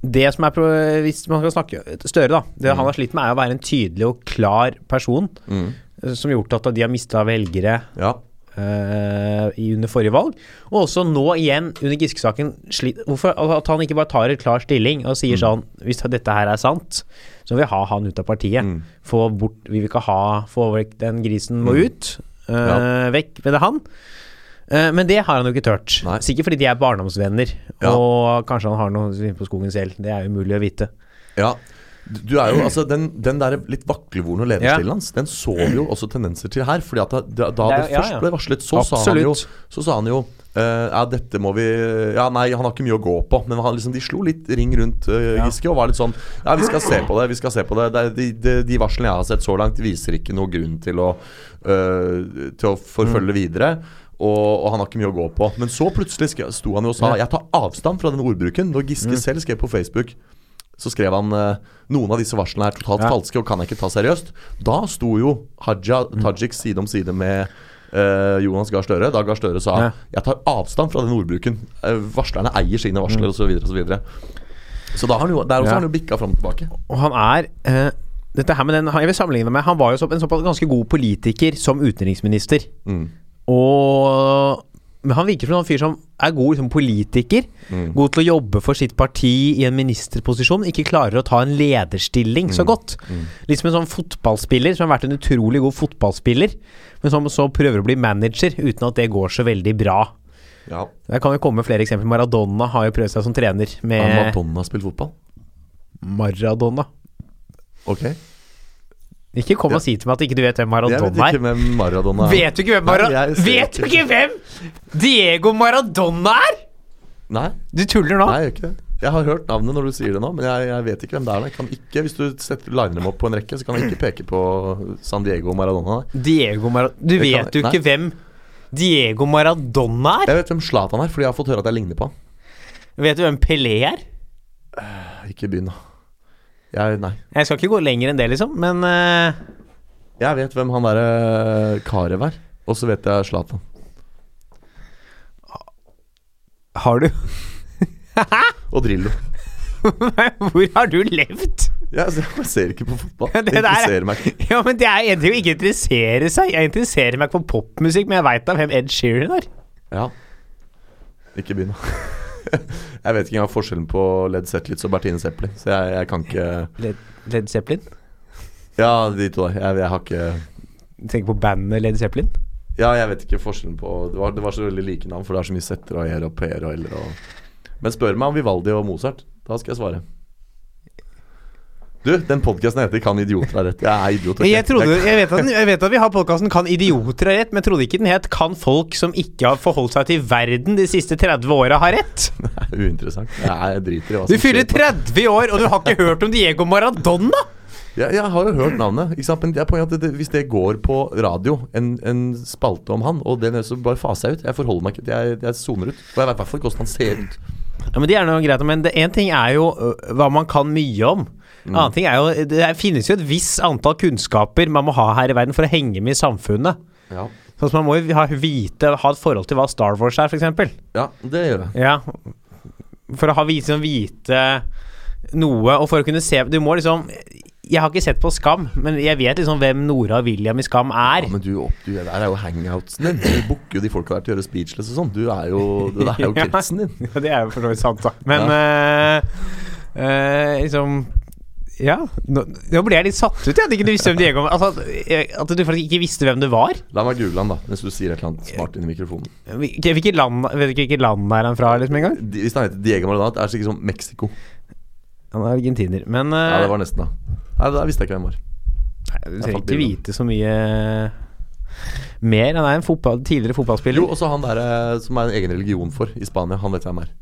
Speaker 2: det som er pro- Hvis man skal snakke Støre, da. Det han har slitt med, er å være en tydelig og klar person
Speaker 3: Mm.
Speaker 2: eh, som har gjort at de har mista velgere
Speaker 3: Ja.
Speaker 2: eh, i- under forrige valg. Og også nå igjen, under Giske-saken, sli- hvorfor al- at han ikke bare tar en klar stilling og
Speaker 3: Mm.
Speaker 2: sier sånn Hvis dette her er sant, så vil vi ha han ut av partiet.
Speaker 3: Mm.
Speaker 2: Få bort Vi vil ikke ha Få vekk den grisen må ut. eh,
Speaker 3: Ja.
Speaker 2: Vekk med det han. Eh, men det har han jo ikke tørt.
Speaker 3: Nei.
Speaker 2: Sikkert fordi de er barndomsvenner.
Speaker 3: Ja.
Speaker 2: Og kanskje han har noe inne på skogen selv. Det er umulig å vite.
Speaker 3: ja. Du- Du er jo, altså, Den, den der litt vaklevorne lederstilen
Speaker 2: Ja.
Speaker 3: hans, den så vi jo også tendenser til her. fordi at da, da da det,
Speaker 2: Det er jo- ja,
Speaker 3: først
Speaker 2: ja.
Speaker 3: ble varslet, så sa han jo
Speaker 2: Absolutt.
Speaker 3: Så sa han jo eh, Ja, dette må vi Ja, nei, han har ikke mye å gå på. Men han, liksom, de slo litt ring rundt eh,
Speaker 2: Ja.
Speaker 3: Giske og var litt sånn Ja, vi skal se på det. vi skal se på det, det er- De, de, de
Speaker 2: Mm.
Speaker 3: varslene jeg har sett så langt, viser ikke noe grunn til å eh, Til å forfølge videre. Og, og han har ikke mye å gå på. Men så plutselig sk- sto han jo og sa Jeg tar avstand fra den ordbruken. Når Giske
Speaker 2: Mm.
Speaker 3: selv skrev på Facebook, så skrev han eh, noen av disse varslene er totalt
Speaker 2: Ja.
Speaker 3: falske og kan jeg ikke ta seriøst. Da sto jo Haja
Speaker 2: Mm.
Speaker 3: Tajik side om side med eh, Jonas Gahr Støre. Da Gahr Støre sa
Speaker 2: Ja.
Speaker 3: jeg tar avstand fra den ordbruken. Eh, varslerne eier sine varsler osv. Så, videre, og så, videre. så da har han jo, der
Speaker 2: Mm.
Speaker 3: også
Speaker 2: Ja.
Speaker 3: har han jo bikka fram og tilbake.
Speaker 2: Og han er eh, Dette her med den Jeg vil sammenligne med Han var jo så, en såpass ganske god politiker som utenriksminister. Og men han virker som en fyr som er god liksom, politiker. God til å jobbe for sitt parti i en ministerposisjon. Ikke klarer å ta en lederstilling så godt. Litt som en sånn fotballspiller som har vært en utrolig god fotballspiller, men som så prøver å bli manager uten at det går så veldig bra.
Speaker 3: Ja.
Speaker 2: Der kan jo komme flere eksempler. Maradona har jo prøvd seg som trener
Speaker 3: Har
Speaker 2: med
Speaker 3: Madonna spilt fotball?
Speaker 2: Maradona.
Speaker 3: Ok. Jeg
Speaker 2: Ikke kom og si til meg at ikke du vet hvem Maradona
Speaker 3: vet
Speaker 2: er.
Speaker 3: ikke hvem Maradona er.
Speaker 2: Vet du ikke hvem
Speaker 3: Nei,
Speaker 2: Maradona
Speaker 3: jeg
Speaker 2: Vet
Speaker 3: ser
Speaker 2: du
Speaker 3: ikke.
Speaker 2: ikke hvem Diego Maradona er?!
Speaker 3: Nei,
Speaker 2: Du tuller nå?
Speaker 3: nei, jeg gjør ikke det. Jeg har hørt navnet når du sier det nå, men jeg, jeg vet ikke hvem det er. Jeg kan ikke, Hvis du setter liner dem opp på en rekke, så kan jeg ikke peke på San Diego og Maradona. nei.
Speaker 2: Diego Maradona Du
Speaker 3: Det kan-
Speaker 2: vet jo ikke
Speaker 3: nei.
Speaker 2: hvem Diego Maradona er?
Speaker 3: Jeg vet hvem Zlatan er, fordi jeg har fått høre at jeg ligner på han.
Speaker 2: Vet du hvem Pelé er?
Speaker 3: Ikke begynn, da. Jeg, nei.
Speaker 2: Jeg skal ikke gå lenger enn det, liksom, men eh,
Speaker 3: Jeg vet hvem han derre eh, Karev er, og så vet jeg Zlatan.
Speaker 2: Har du
Speaker 3: Og Drillo.
Speaker 2: Hvor har du levd?
Speaker 3: Jeg, jeg ser ikke på fotball.
Speaker 2: Det
Speaker 3: Det
Speaker 2: der er-
Speaker 3: interesserer meg ikke.
Speaker 2: Ja, men Det er egentlig å ikke interessere seg. Jeg interesserer meg ikke for popmusikk, men jeg veit da hvem Ed Sheeran er.
Speaker 3: Ja. Ikke begynn, da. Jeg vet ikke engang forskjellen på Led Zetlitz og Bertine Zeppeli, så jeg, jeg kan ikke
Speaker 2: Led, Led Zeppelin?
Speaker 3: Ja, de to der. Jeg, jeg har ikke
Speaker 2: Du tenker på bandet Led Zeppelin?
Speaker 3: Ja, jeg vet ikke forskjellen på Det var, det var så veldig like navn, for det er så mye setter og er og per og eller og Men spør meg om Vivaldi og Mozart. Da skal jeg svare. Du, den podkasten heter 'Kan idioter ha rett'. Jeg er idiot. ok?
Speaker 2: Jeg, trodde,
Speaker 3: Jeg-
Speaker 2: jeg, vet at, den- jeg vet at vi har podkasten Kan idioter ha rett, men jeg trodde ikke den het Kan folk som ikke har forholdt seg til verden de siste 30 åra, ha rett?
Speaker 3: Det er uinteressant. Jeg, jeg driter i hva
Speaker 2: Du
Speaker 3: som
Speaker 2: fyller
Speaker 3: skjer. på-
Speaker 2: 30 år, og du har ikke hørt om Diego Maradona?
Speaker 3: Jeg, jeg har jo hørt navnet, ikke sant? men jeg poenget er at det, hvis det går på radio, en, en spalte om han, og den er så bare faser jeg ut. Jeg forholder meg ikke Jeg, jeg zoner ut. Og jeg vet i hvert fall ikke hvordan han ser ut.
Speaker 2: Ja, men Det er noe greit, men det- en ting er jo øh, hva man kan mye om. En annen ting er jo Det er- finnes jo et visst antall kunnskaper man må ha her i verden for å henge med i samfunnet.
Speaker 3: Ja.
Speaker 2: Sånn som Man må jo ha, vite, ha et forhold til hva Star Wars er, f.eks.
Speaker 3: ja, det gjør jeg.
Speaker 2: Ja. For å ha vite, sånn vite noe, og for å kunne se Du må liksom Jeg har ikke sett på Skam, men jeg vet liksom hvem Nora og William i Skam er.
Speaker 3: Ja, men du, opp, du, det der er jo hangoutsen din. Du booker jo de folka der til å gjøre speechless og sånn. Du er jo Det der er jo
Speaker 2: Ja.
Speaker 3: kretsen din.
Speaker 2: Ja, det er jo for så vidt sant, da. Men eh, eh, liksom Ja. Nå, nå ble jeg litt satt ut, jeg. At ikke du visste hvem Diego var. Altså, at- at du faktisk ikke visste hvem det var.
Speaker 3: La meg google han, da, mens du sier et eller annet smart inn i mikrofonen.
Speaker 2: Hvilke, hvilke land, vet du ikke hvilket land er han fra, liksom, engang?
Speaker 3: De, hvis han heter Diego Maradona, det er sikkert sånn Mexico.
Speaker 2: Han er argentiner. Men eh,
Speaker 3: Ja, det var nesten, da. Nei, det der visste jeg ikke hvem
Speaker 2: du
Speaker 3: var. jeg
Speaker 2: trenger
Speaker 3: falt
Speaker 2: ikke
Speaker 3: i det.
Speaker 2: vite så mye mer. Han er en fotball, tidligere fotballspiller.
Speaker 3: Jo, også han derre som er en egen religion for i Spania. Han vet jeg hvem er.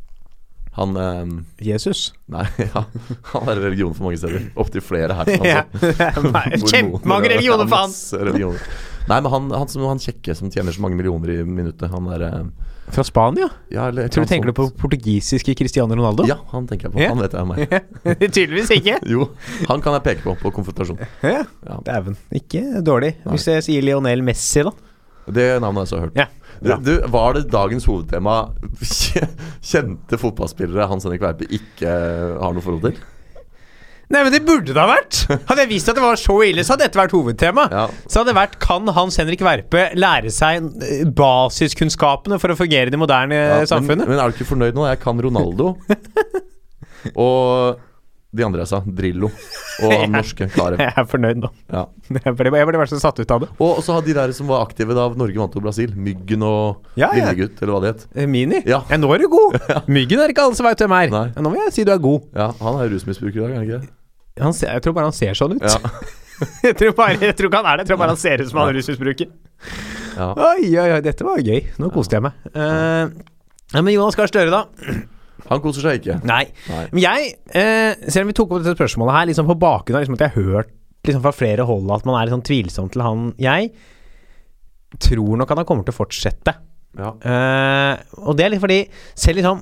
Speaker 3: Han ehm,
Speaker 2: Jesus.
Speaker 3: Nei, ja. Han er religion for mange steder. Opptil flere her.
Speaker 2: Ja.
Speaker 3: altså.
Speaker 2: Nei,
Speaker 3: Mormoner,
Speaker 2: Kjempemange
Speaker 3: ja,
Speaker 2: religioner, faen!
Speaker 3: masse religioner. Nei, men han, han, som- han kjekke som tjener så mange millioner i minuttet, han derre
Speaker 2: Fra Spania?
Speaker 3: ja, eller et
Speaker 2: Tror du
Speaker 3: eller annet
Speaker 2: tenker du på
Speaker 3: sånt.
Speaker 2: portugisiske Cristiano Ronaldo?
Speaker 3: Ja, han tenker jeg på.
Speaker 2: Ja.
Speaker 3: Han vet jeg hvem er.
Speaker 2: Tydeligvis ikke.
Speaker 3: Jo, han kan jeg peke på på konfrontasjon.
Speaker 2: Ja.
Speaker 3: Ja.
Speaker 2: Dæven. Ikke dårlig. Hvis jeg sier Lionel Messi, da.
Speaker 3: Det navnet har jeg så hørt.
Speaker 2: Ja.
Speaker 3: Du, du, var det dagens hovedtema kjente fotballspillere Hans Henrik Weipe ikke eh, har noe forhold til?
Speaker 2: Nei, men det burde det ha vært! Hadde jeg visst at det var så ille, så hadde dette vært hovedtema.
Speaker 3: Ja.
Speaker 2: Så hadde det vært Kan Hans Henrik Verpe lære seg eh, basiskunnskapene for å fungere i det moderne eh,
Speaker 3: Ja,
Speaker 2: samfunnet?
Speaker 3: Men, men er du ikke fornøyd nå? Jeg kan Ronaldo. og de andre jeg sa. Drillo. Og han norske Karev.
Speaker 2: jeg er fornøyd nå.
Speaker 3: Ja.
Speaker 2: Jeg ble, jeg ble bare så satt ut av det.
Speaker 3: Og så hadde de der som var aktive da Norge vant over Brasil. Myggen og
Speaker 2: Ja, ja.
Speaker 3: Lillegutt, eller hva det het.
Speaker 2: Eh, Mini?
Speaker 3: Ja.
Speaker 2: nå er du god! Myggen er ikke alle som veit hvem er.
Speaker 3: Nei.
Speaker 2: Ja, Nå vil jeg si du er god.
Speaker 3: Ja, han er rusmisbruker i dag, er han ikke det?
Speaker 2: Han ser, jeg tror bare han ser sånn ut.
Speaker 3: Ja.
Speaker 2: jeg, tror bare, jeg tror ikke han er det. Jeg tror bare han ser ut som han er rusmisbruker.
Speaker 3: Ja.
Speaker 2: Oi, oi, oi, dette var gøy. Nå koste jeg meg. Eh, ja, men Jonas Gahr Støre, da?
Speaker 3: Han koser seg ikke.
Speaker 2: Nei.
Speaker 3: Nei.
Speaker 2: Men jeg, eh, selv om vi tok opp dette spørsmålet her, liksom på bakgrunn av liksom at jeg har hørt liksom fra flere hold at man er litt sånn tvilsom til han Jeg tror nok han kommer til å fortsette.
Speaker 3: Ja.
Speaker 2: Eh, og det er litt fordi selv liksom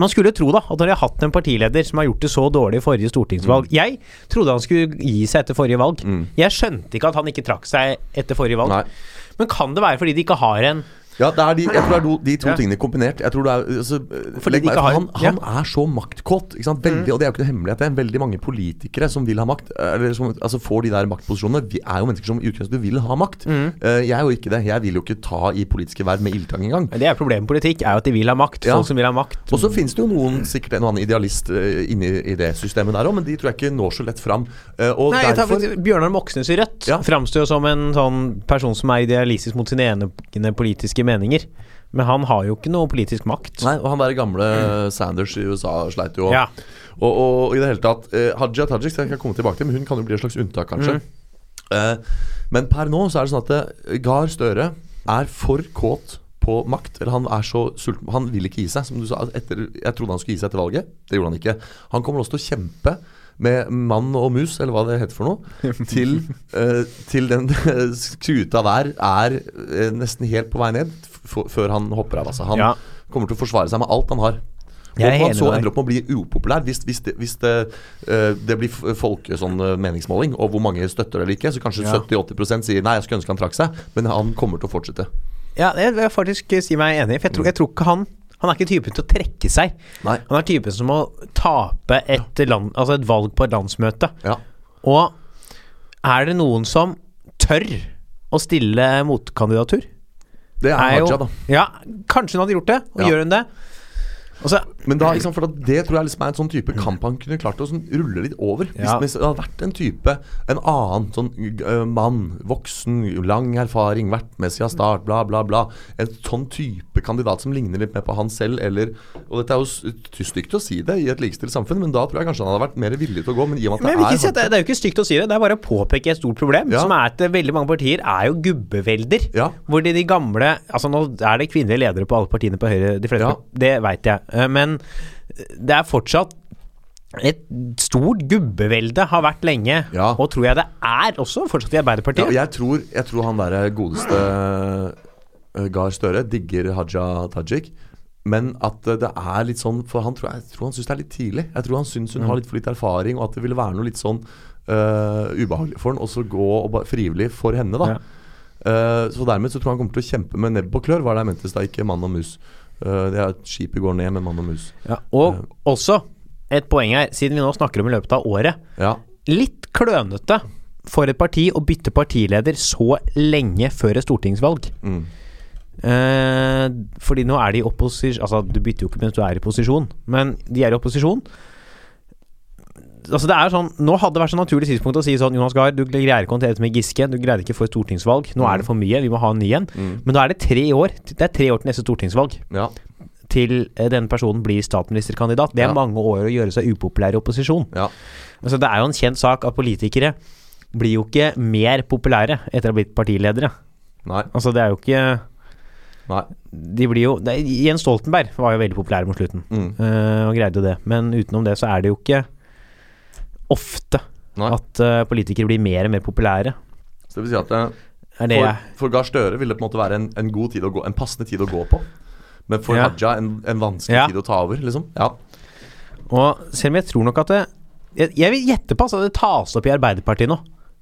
Speaker 2: Man skulle jo tro da at når de har hatt en partileder som har gjort det så dårlig i forrige stortingsvalg Jeg trodde han skulle gi seg etter forrige valg.
Speaker 3: Mm.
Speaker 2: Jeg skjønte ikke at han ikke trakk seg etter forrige valg.
Speaker 3: Nei.
Speaker 2: Men kan det være fordi de ikke har en
Speaker 3: Ja, det er de, jeg tror det er do- de to
Speaker 2: Ja.
Speaker 3: tingene kombinert. Jeg tror det er, altså,
Speaker 2: Fordi
Speaker 3: legg
Speaker 2: de ikke
Speaker 3: merke til,
Speaker 2: har- Mm.
Speaker 3: han, han er så maktkåt. Ikke sant? Veldig, Og det er jo ikke noe hemmelighet. Det er veldig mange politikere som vil ha makt. Eller som altså, får de der maktposisjonene. Vi er jo mennesker som i utgangspunktet vil ha makt.
Speaker 2: Mm.
Speaker 3: Eh, jeg er jo ikke det. Jeg vil jo ikke ta i politiske verv med ildtang engang.
Speaker 2: Det er problemet med politikk, er jo at de vil ha makt.
Speaker 3: Ja.
Speaker 2: Folk som vil ha makt.
Speaker 3: Og så finnes det jo noen sikkert en og annen idealist uh, inni i det systemet der òg, men de tror jeg ikke når så lett fram. Eh, og
Speaker 2: Nei, jeg tar
Speaker 3: derfor
Speaker 2: faktisk Bjørnar Moxnes i Rødt
Speaker 3: Ja.
Speaker 2: framstår jo som en sånn person som er idealistisk mot sine egne politiske meninger. Men han har jo ikke noe politisk makt.
Speaker 3: Nei, og han der gamle Sanders i USA sleit jo.
Speaker 2: Ja.
Speaker 3: Og, og i det hele tatt eh, Hadia Tajik skal jeg komme tilbake til, men hun kan jo bli et slags unntak, kanskje. Eh, men per nå så er det sånn at eh, Gahr Støre er for kåt på makt. Eller han er så sulten Han vil ikke gi seg, som du sa. Etter, jeg trodde han skulle gi seg etter valget. Det gjorde han ikke. Han kommer også til å kjempe med mann og mus, eller hva det heter for noe, til, eh, til den skuta der er eh, nesten helt på vei ned f før han hopper av. Altså. Han
Speaker 2: Ja.
Speaker 3: kommer til å forsvare seg med alt han har.
Speaker 2: Jeg er
Speaker 3: Håper han
Speaker 2: enig
Speaker 3: så
Speaker 2: med deg.
Speaker 3: ender opp med å bli upopulær hvis, hvis, det, hvis det, eh, det blir f- folke, sånn, eh, meningsmåling, og hvor mange støtter det eller ikke. Så kanskje
Speaker 2: Ja.
Speaker 3: 70-80 sier nei, jeg skulle ønske han trakk seg, men han kommer til å fortsette.
Speaker 2: Ja, jeg vil faktisk si meg enig, for jeg tror, jeg tror ikke han han er ikke typen til å trekke seg.
Speaker 3: Mm. Nei.
Speaker 2: Han er typen som må tape et, land, altså et valg på et landsmøte.
Speaker 3: Ja.
Speaker 2: Og er det noen som tør å stille motkandidatur?
Speaker 3: Det er
Speaker 2: Er jo-
Speaker 3: Haja, da.
Speaker 2: Ja, kanskje hun hadde gjort det, og
Speaker 3: Ja.
Speaker 2: gjør hun det. Og så,
Speaker 3: Men da, ikke sant, for at det tror jeg liksom er en sånn type kamp han kunne klart å sånn, rulle litt over. Hvis,
Speaker 2: Ja.
Speaker 3: hvis det hadde vært en type, en annen sånn øh, mann, voksen, lang erfaring, vært med siden start, bla, bla, bla. En sånn type kandidat som ligner litt mer på han selv, eller Og dette er jo s- stygt å si det i et likestilt samfunn, men da tror jeg kanskje han hadde vært mer villig til å gå. Men i
Speaker 2: men
Speaker 3: og med
Speaker 2: jeg
Speaker 3: at
Speaker 2: vil
Speaker 3: det
Speaker 2: ikke
Speaker 3: er sånn.
Speaker 2: si at det, det er jo ikke stygt å si det, det er bare å påpeke et stort problem.
Speaker 3: Ja.
Speaker 2: Som er at veldig mange partier er jo gubbevelder.
Speaker 3: Ja.
Speaker 2: Hvor de, de gamle Altså nå er det kvinnelige ledere på alle partiene på Høyre, de fleste.
Speaker 3: Ja.
Speaker 2: Det veit jeg. Eh, Men det er fortsatt et stort gubbevelde har vært lenge,
Speaker 3: Ja.
Speaker 2: og tror jeg det er også, fortsatt i
Speaker 3: Ja, og
Speaker 2: Arbeiderpartiet.
Speaker 3: jeg, tror, jeg tror han derre godeste øh, Gahr Støre digger Haja Tajik. Men at øh, det er litt sånn For han tror, jeg tror han syns det er litt tidlig. Jeg tror han syns hun
Speaker 2: Mm.
Speaker 3: har litt for litt erfaring, og at det ville være noe litt sånn øh, ubehagelig for han Og så gå og ba, frivillig for henne, da.
Speaker 2: Ja.
Speaker 3: Eh, så dermed så tror jeg han kommer til å kjempe med nebb og klør, var det jeg mente i stad. Ikke mann og mus. Eh, det er at Skipet går ned med mann og mus.
Speaker 2: Ja, og også et poeng her, siden vi nå snakker om i løpet av året.
Speaker 3: Ja,
Speaker 2: Litt klønete for et parti å bytte partileder så lenge før et stortingsvalg.
Speaker 3: mm.
Speaker 2: Eh, fordi nå er de i opposisjon Altså, du bytter jo ikke mens du er i posisjon, men de er i opposisjon. Altså det er sånn Nå hadde det vært så naturlig tidspunkt å si sånn Jonas Gahr, du greier ikke å håndtere dette med Giske. Du greide ikke å få et stortingsvalg. Nå er det for mye. Vi må ha en ny en. Men da er det tre år. Det er tre år til neste stortingsvalg.
Speaker 3: ja,
Speaker 2: Til eh, den personen blir statsministerkandidat. Det er
Speaker 3: Ja.
Speaker 2: mange år å gjøre seg upopulær i opposisjon.
Speaker 3: ja.
Speaker 2: Altså, det er jo en kjent sak at politikere blir jo ikke mer populære etter å ha blitt partiledere.
Speaker 3: Nei.
Speaker 2: Altså, det er jo ikke
Speaker 3: Nei.
Speaker 2: De blir jo det, er- Jens Stoltenberg var jo veldig populær mot slutten,
Speaker 3: Mm.
Speaker 2: eh, og greide jo det. Men utenom det så er det jo ikke ofte
Speaker 3: Nei.
Speaker 2: at eh, politikere blir mer og mer populære.
Speaker 3: Så det vil si at eh,
Speaker 2: Er det
Speaker 3: For, for Gahr Støre ville det på en måte være en, en god tid å gå En passende tid å gå på. Men for
Speaker 2: Ja.
Speaker 3: Haja en, en vanskelig
Speaker 2: Ja.
Speaker 3: tid å ta over, liksom. Ja.
Speaker 2: Og selv om jeg tror nok at det Jeg, jeg vil gjette på altså, at det tas opp i Arbeiderpartiet nå.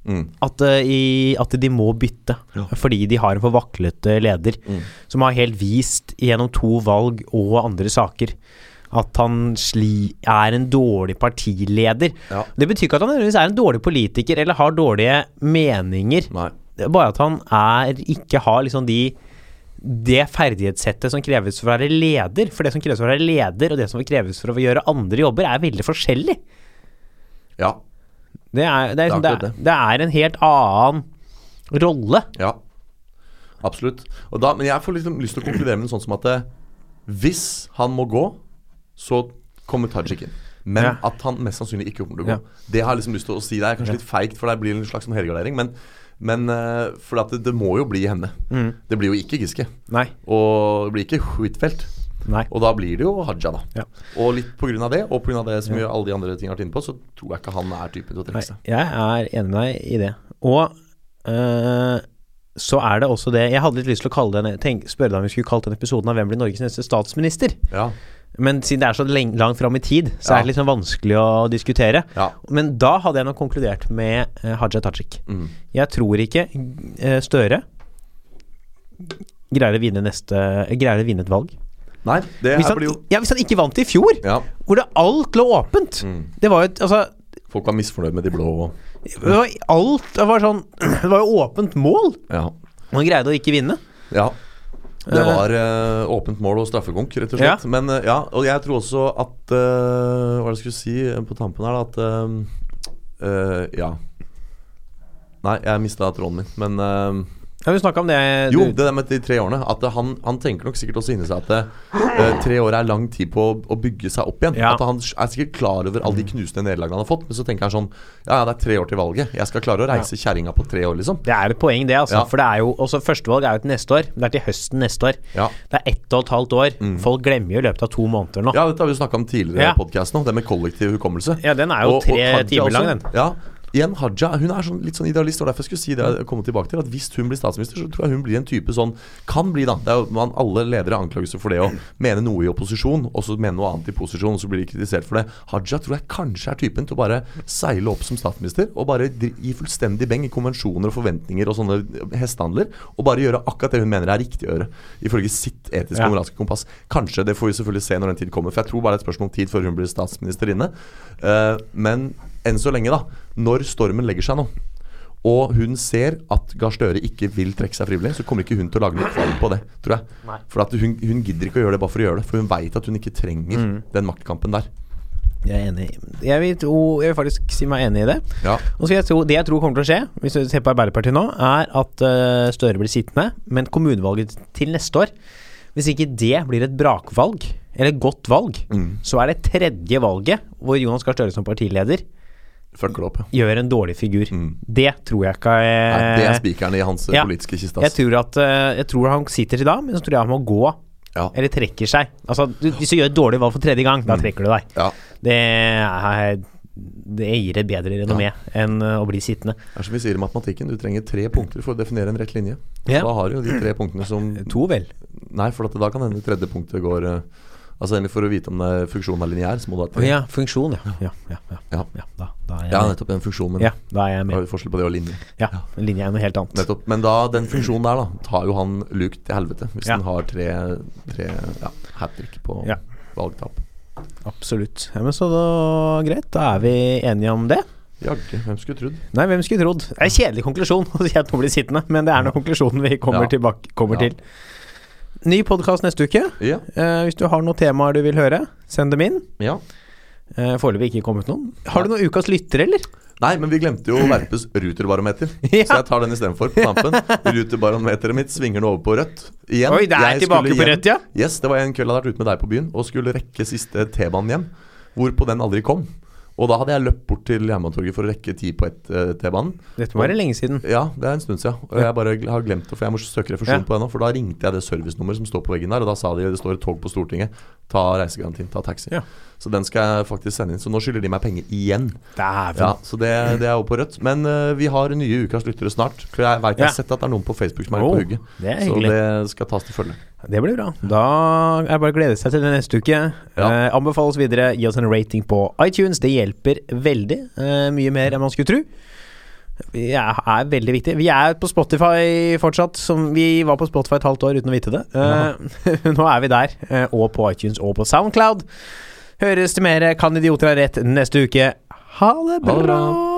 Speaker 3: Mm.
Speaker 2: At, eh, i, at de må bytte,
Speaker 3: Ja. Mm.
Speaker 2: fordi de har en for vaklete leder som har helt vist gjennom to valg og andre saker at han sli, er en dårlig partileder.
Speaker 3: Ja.
Speaker 2: Det betyr ikke at han nødvendigvis er en dårlig politiker eller har dårlige meninger,
Speaker 3: Nei.
Speaker 2: Det er bare at han er, ikke har liksom de det ferdighetssettet som kreves for å være leder. For det som kreves for å være leder, og det som kreves for å gjøre andre jobber, er veldig forskjellig.
Speaker 3: Ja.
Speaker 2: Det er, det er, liksom,
Speaker 3: Det
Speaker 2: det
Speaker 3: er
Speaker 2: er,
Speaker 3: akkurat
Speaker 2: det er en helt annen rolle.
Speaker 3: Ja. Absolutt. Og da, men jeg får liksom lyst til å konkludere med noe sånt som at eh, hvis han må gå, så kommer Tajik inn. Men
Speaker 2: Ja.
Speaker 3: at han mest sannsynlig ikke kommer til å gå.
Speaker 2: Ja.
Speaker 3: Det har jeg liksom lyst til å si. Det er kanskje litt feigt, for det blir en slags sånn helgardering. Men, men eh, for at det, det må jo bli henne.
Speaker 2: Mm.
Speaker 3: Det blir jo ikke Giske.
Speaker 2: Nei.
Speaker 3: Og det blir ikke Huitfeldt.
Speaker 2: Nei.
Speaker 3: Og da blir det jo Haja, da.
Speaker 2: Ja.
Speaker 3: Og litt pga. det, og pga. det som gjør alle de andre tingene jeg har vært inne på, så tror jeg ikke han er typen til å
Speaker 2: Nei,
Speaker 3: trekke seg.
Speaker 2: jeg er enig med deg i det. Og øh, så er det også det Jeg hadde litt lyst til å kalle denne, tenk, spørre deg om vi skulle kalt denne episoden av 'Hvem blir Norges neste statsminister?'
Speaker 3: Ja.
Speaker 2: Men siden det er så leng langt fram i tid, så
Speaker 3: Ja.
Speaker 2: er det litt sånn vanskelig å diskutere.
Speaker 3: Ja.
Speaker 2: Men da hadde jeg nok konkludert med eh, Haja Tajik.
Speaker 3: Mm.
Speaker 2: Jeg tror ikke eh, Støre greier å vinne neste Greier å vinne et valg.
Speaker 3: Nei, det
Speaker 2: Hvis
Speaker 3: her
Speaker 2: han,
Speaker 3: blir jo
Speaker 2: ja, hvis han ikke vant i fjor,
Speaker 3: Ja.
Speaker 2: hvor det alt lå åpent
Speaker 3: Mm.
Speaker 2: Det var jo et Altså,
Speaker 3: Folk var misfornøyd med de blå og
Speaker 2: det var alt det var sånn Det var jo åpent mål!
Speaker 3: Ja.
Speaker 2: Og han greide å ikke vinne.
Speaker 3: ja. Det
Speaker 2: Eh.
Speaker 3: var eh, åpent mål og straffekonk, rett og slett. Men eh, ja, og jeg tror også at eh, Hva var det jeg skulle si eh, på tampen her, da? At eh, eh, Ja. Nei, jeg mista tråden min, men eh,
Speaker 2: Ja, vi snakka om det
Speaker 3: Jo,
Speaker 2: Eh, du-
Speaker 3: det der med de tre årene. At han, han tenker nok sikkert også inni seg at eh, tre år er lang tid på å, å bygge seg opp igjen.
Speaker 2: Ja. Mm.
Speaker 3: At han er sikkert klar over alle de knusende nederlagene han har fått. Men så tenker han sånn Ja, ja, det er tre år til valget. Jeg skal klare å reise kjerringa på tre år, liksom.
Speaker 2: Det er et poeng, det. altså
Speaker 3: Ja.
Speaker 2: For det er jo også Førstevalg er jo til neste år. Men det er til høsten neste år.
Speaker 3: Ja. Mm.
Speaker 2: Det er ett og et halvt år. Folk glemmer jo i løpet av to måneder nå.
Speaker 3: Ja, dette har vi snakka om tidligere
Speaker 2: Ja.
Speaker 3: i podkasten òg. Det med kollektiv hukommelse.
Speaker 2: Ja, den er jo tre
Speaker 3: Hadia
Speaker 2: timer lang,
Speaker 3: også.
Speaker 2: den.
Speaker 3: Ja. Igjen, Haja hun er sånn, litt sånn idealist, og derfor jeg skulle si det jeg kommer tilbake til. At hvis hun blir statsminister, så tror jeg hun blir en type sånn Kan bli, da. Det er jo, man, alle ledere anklages jo for det å mene noe i opposisjon, og så mene noe annet i posisjon, og så blir de kritisert for det. Haja tror jeg kanskje er typen til å bare seile opp som statsminister, og bare dri- gi fullstendig beng i konvensjoner og forventninger og sånne hestehandler, og bare gjøre akkurat det hun mener er riktig å gjøre, ifølge sitt etiske
Speaker 2: Ja.
Speaker 3: og moralske kompass. Kanskje, det får vi selvfølgelig se når den tid kommer, for jeg tror bare det er et spørsmål om tid før hun blir statsministerinne. Eh, men enn så lenge, da. Når stormen legger seg nå, og hun ser at Gahr Støre ikke vil trekke seg frivillig, så kommer ikke hun til å lage noe kvalm på det, tror jeg.
Speaker 2: Nei.
Speaker 3: For at hun, hun gidder ikke å gjøre det bare for å gjøre det, for hun veit at hun ikke trenger
Speaker 2: Mm.
Speaker 3: den maktkampen der.
Speaker 2: Jeg er enig. Jeg vil, tro, jeg vil faktisk si meg enig i det.
Speaker 3: Ja.
Speaker 2: Og så skal jeg tro, Det jeg tror kommer til å skje, hvis du ser på Arbeiderpartiet nå, er at eh, Støre blir sittende. Men kommunevalget til neste år, hvis ikke det blir et brakvalg, eller et godt valg,
Speaker 3: Mm.
Speaker 2: så er det tredje valget hvor Jonas Gahr Støre som partileder
Speaker 3: Følger det opp, ja.
Speaker 2: gjør en dårlig figur.
Speaker 3: Mm.
Speaker 2: Det tror jeg ikke eh,
Speaker 3: Nei, det er spikeren i hans eh,
Speaker 2: ja.
Speaker 3: politiske kiste.
Speaker 2: jeg
Speaker 3: ass.
Speaker 2: tror, at, eh, jeg tror han sitter til da, men så tror jeg han må gå.
Speaker 3: Ja.
Speaker 2: Eller trekker seg. Altså, du, hvis du gjør et dårlig valg for tredje gang, da trekker du deg.
Speaker 3: Mm. Ja.
Speaker 2: Det, er, det gir et bedre renommé enn eh, å bli sittende.
Speaker 3: Det er som vi sier i matematikken, du trenger tre punkter for å definere en rett linje.
Speaker 2: Ja.
Speaker 3: Da har du jo de tre punktene som
Speaker 2: To, vel.
Speaker 3: Nei, for at da kan hende det tredje punktet går eh, Altså egentlig For å vite om det er funksjonen er lineær, så må du ha tre.
Speaker 2: Ja, funksjon, ja. Ja, ja, ja.
Speaker 3: Ja.
Speaker 2: ja da, da er
Speaker 3: Ja,
Speaker 2: jeg med.
Speaker 3: nettopp. Den funksjonen.
Speaker 2: Ja, da er jeg
Speaker 3: Det
Speaker 2: med.
Speaker 3: er jo forskjell på det og linje.
Speaker 2: Ja, linja er noe helt annet.
Speaker 3: Nettopp. Men da, den funksjonen der, da, tar jo han lukt til helvete. Hvis
Speaker 2: Ja.
Speaker 3: den har tre, tre ja, hat trick på
Speaker 2: Ja.
Speaker 3: valgtap.
Speaker 2: Absolutt. Ja, men så da, greit, da er vi enige om det.
Speaker 3: Jaggu, hvem skulle trodd?
Speaker 2: Nei, hvem skulle trodd? Det er en kjedelig konklusjon altså, å si at noen blir sittende, men det er nå konklusjonen vi kommer,
Speaker 3: Ja.
Speaker 2: tilbake, kommer
Speaker 3: Ja.
Speaker 2: til. Ny podkast neste uke.
Speaker 3: Ja.
Speaker 2: Eh, hvis du har noen temaer du vil høre, send dem inn.
Speaker 3: ja.
Speaker 2: Eh, Foreløpig ikke kommet noen. Har du noen Ukas lytter, eller?
Speaker 3: Nei, men vi glemte jo Verpes ruterbarometer,
Speaker 2: Ja.
Speaker 3: så jeg tar den istedenfor på tampen. Ruterbarometeret mitt svinger nå over på rødt igjen.
Speaker 2: Oi, det er
Speaker 3: Jeg
Speaker 2: tilbake
Speaker 3: skulle
Speaker 2: på
Speaker 3: hjem-
Speaker 2: rødt, ja.
Speaker 3: Yes, Det var en kveld jeg hadde vært ute med deg på byen og skulle rekke siste T-banen hjem, hvorpå den aldri kom. Og da hadde jeg løpt bort til Jernbanetorget for å rekke ti på ett eh, T-banen.
Speaker 2: Dette må være lenge siden.
Speaker 3: Ja, det er en stund siden. Og jeg bare gl- har glemt det, for jeg må søke refusjon
Speaker 2: Ja.
Speaker 3: på det nå. For da ringte jeg det servicenummeret som står på veggen der, og da sa de det står et tog på Stortinget. Ta reisegarantien, ta taxi.
Speaker 2: Ja.
Speaker 3: Så den skal jeg faktisk sende inn. Så nå skylder de meg penger igjen.
Speaker 2: Dæven.
Speaker 3: Ja, Så det, det er jo på rødt. Men øh, vi har nye Ukas lyttere snart. For jeg veit jeg
Speaker 2: Ja.
Speaker 3: har sett at det er noen på Facebook som er
Speaker 2: Oh,
Speaker 3: på hugget.
Speaker 2: det er
Speaker 3: så
Speaker 2: hyggelig.
Speaker 3: det skal tas til følge.
Speaker 2: Det blir bra. Da er det bare å glede seg til det neste uke.
Speaker 3: Ja.
Speaker 2: Eh, anbefale oss videre. Gi oss en rating på iTunes. Det hjelper veldig. Eh, mye mer enn man skulle tro. Det er veldig viktig. Vi er på Spotify fortsatt. Som vi var på Spotify et halvt år uten å vite det. Eh, Nå er vi der. eh, og på iTunes og på Soundcloud. Høres til mer Kan idioter ha rett neste uke. Ha det
Speaker 3: Ha det
Speaker 2: bra.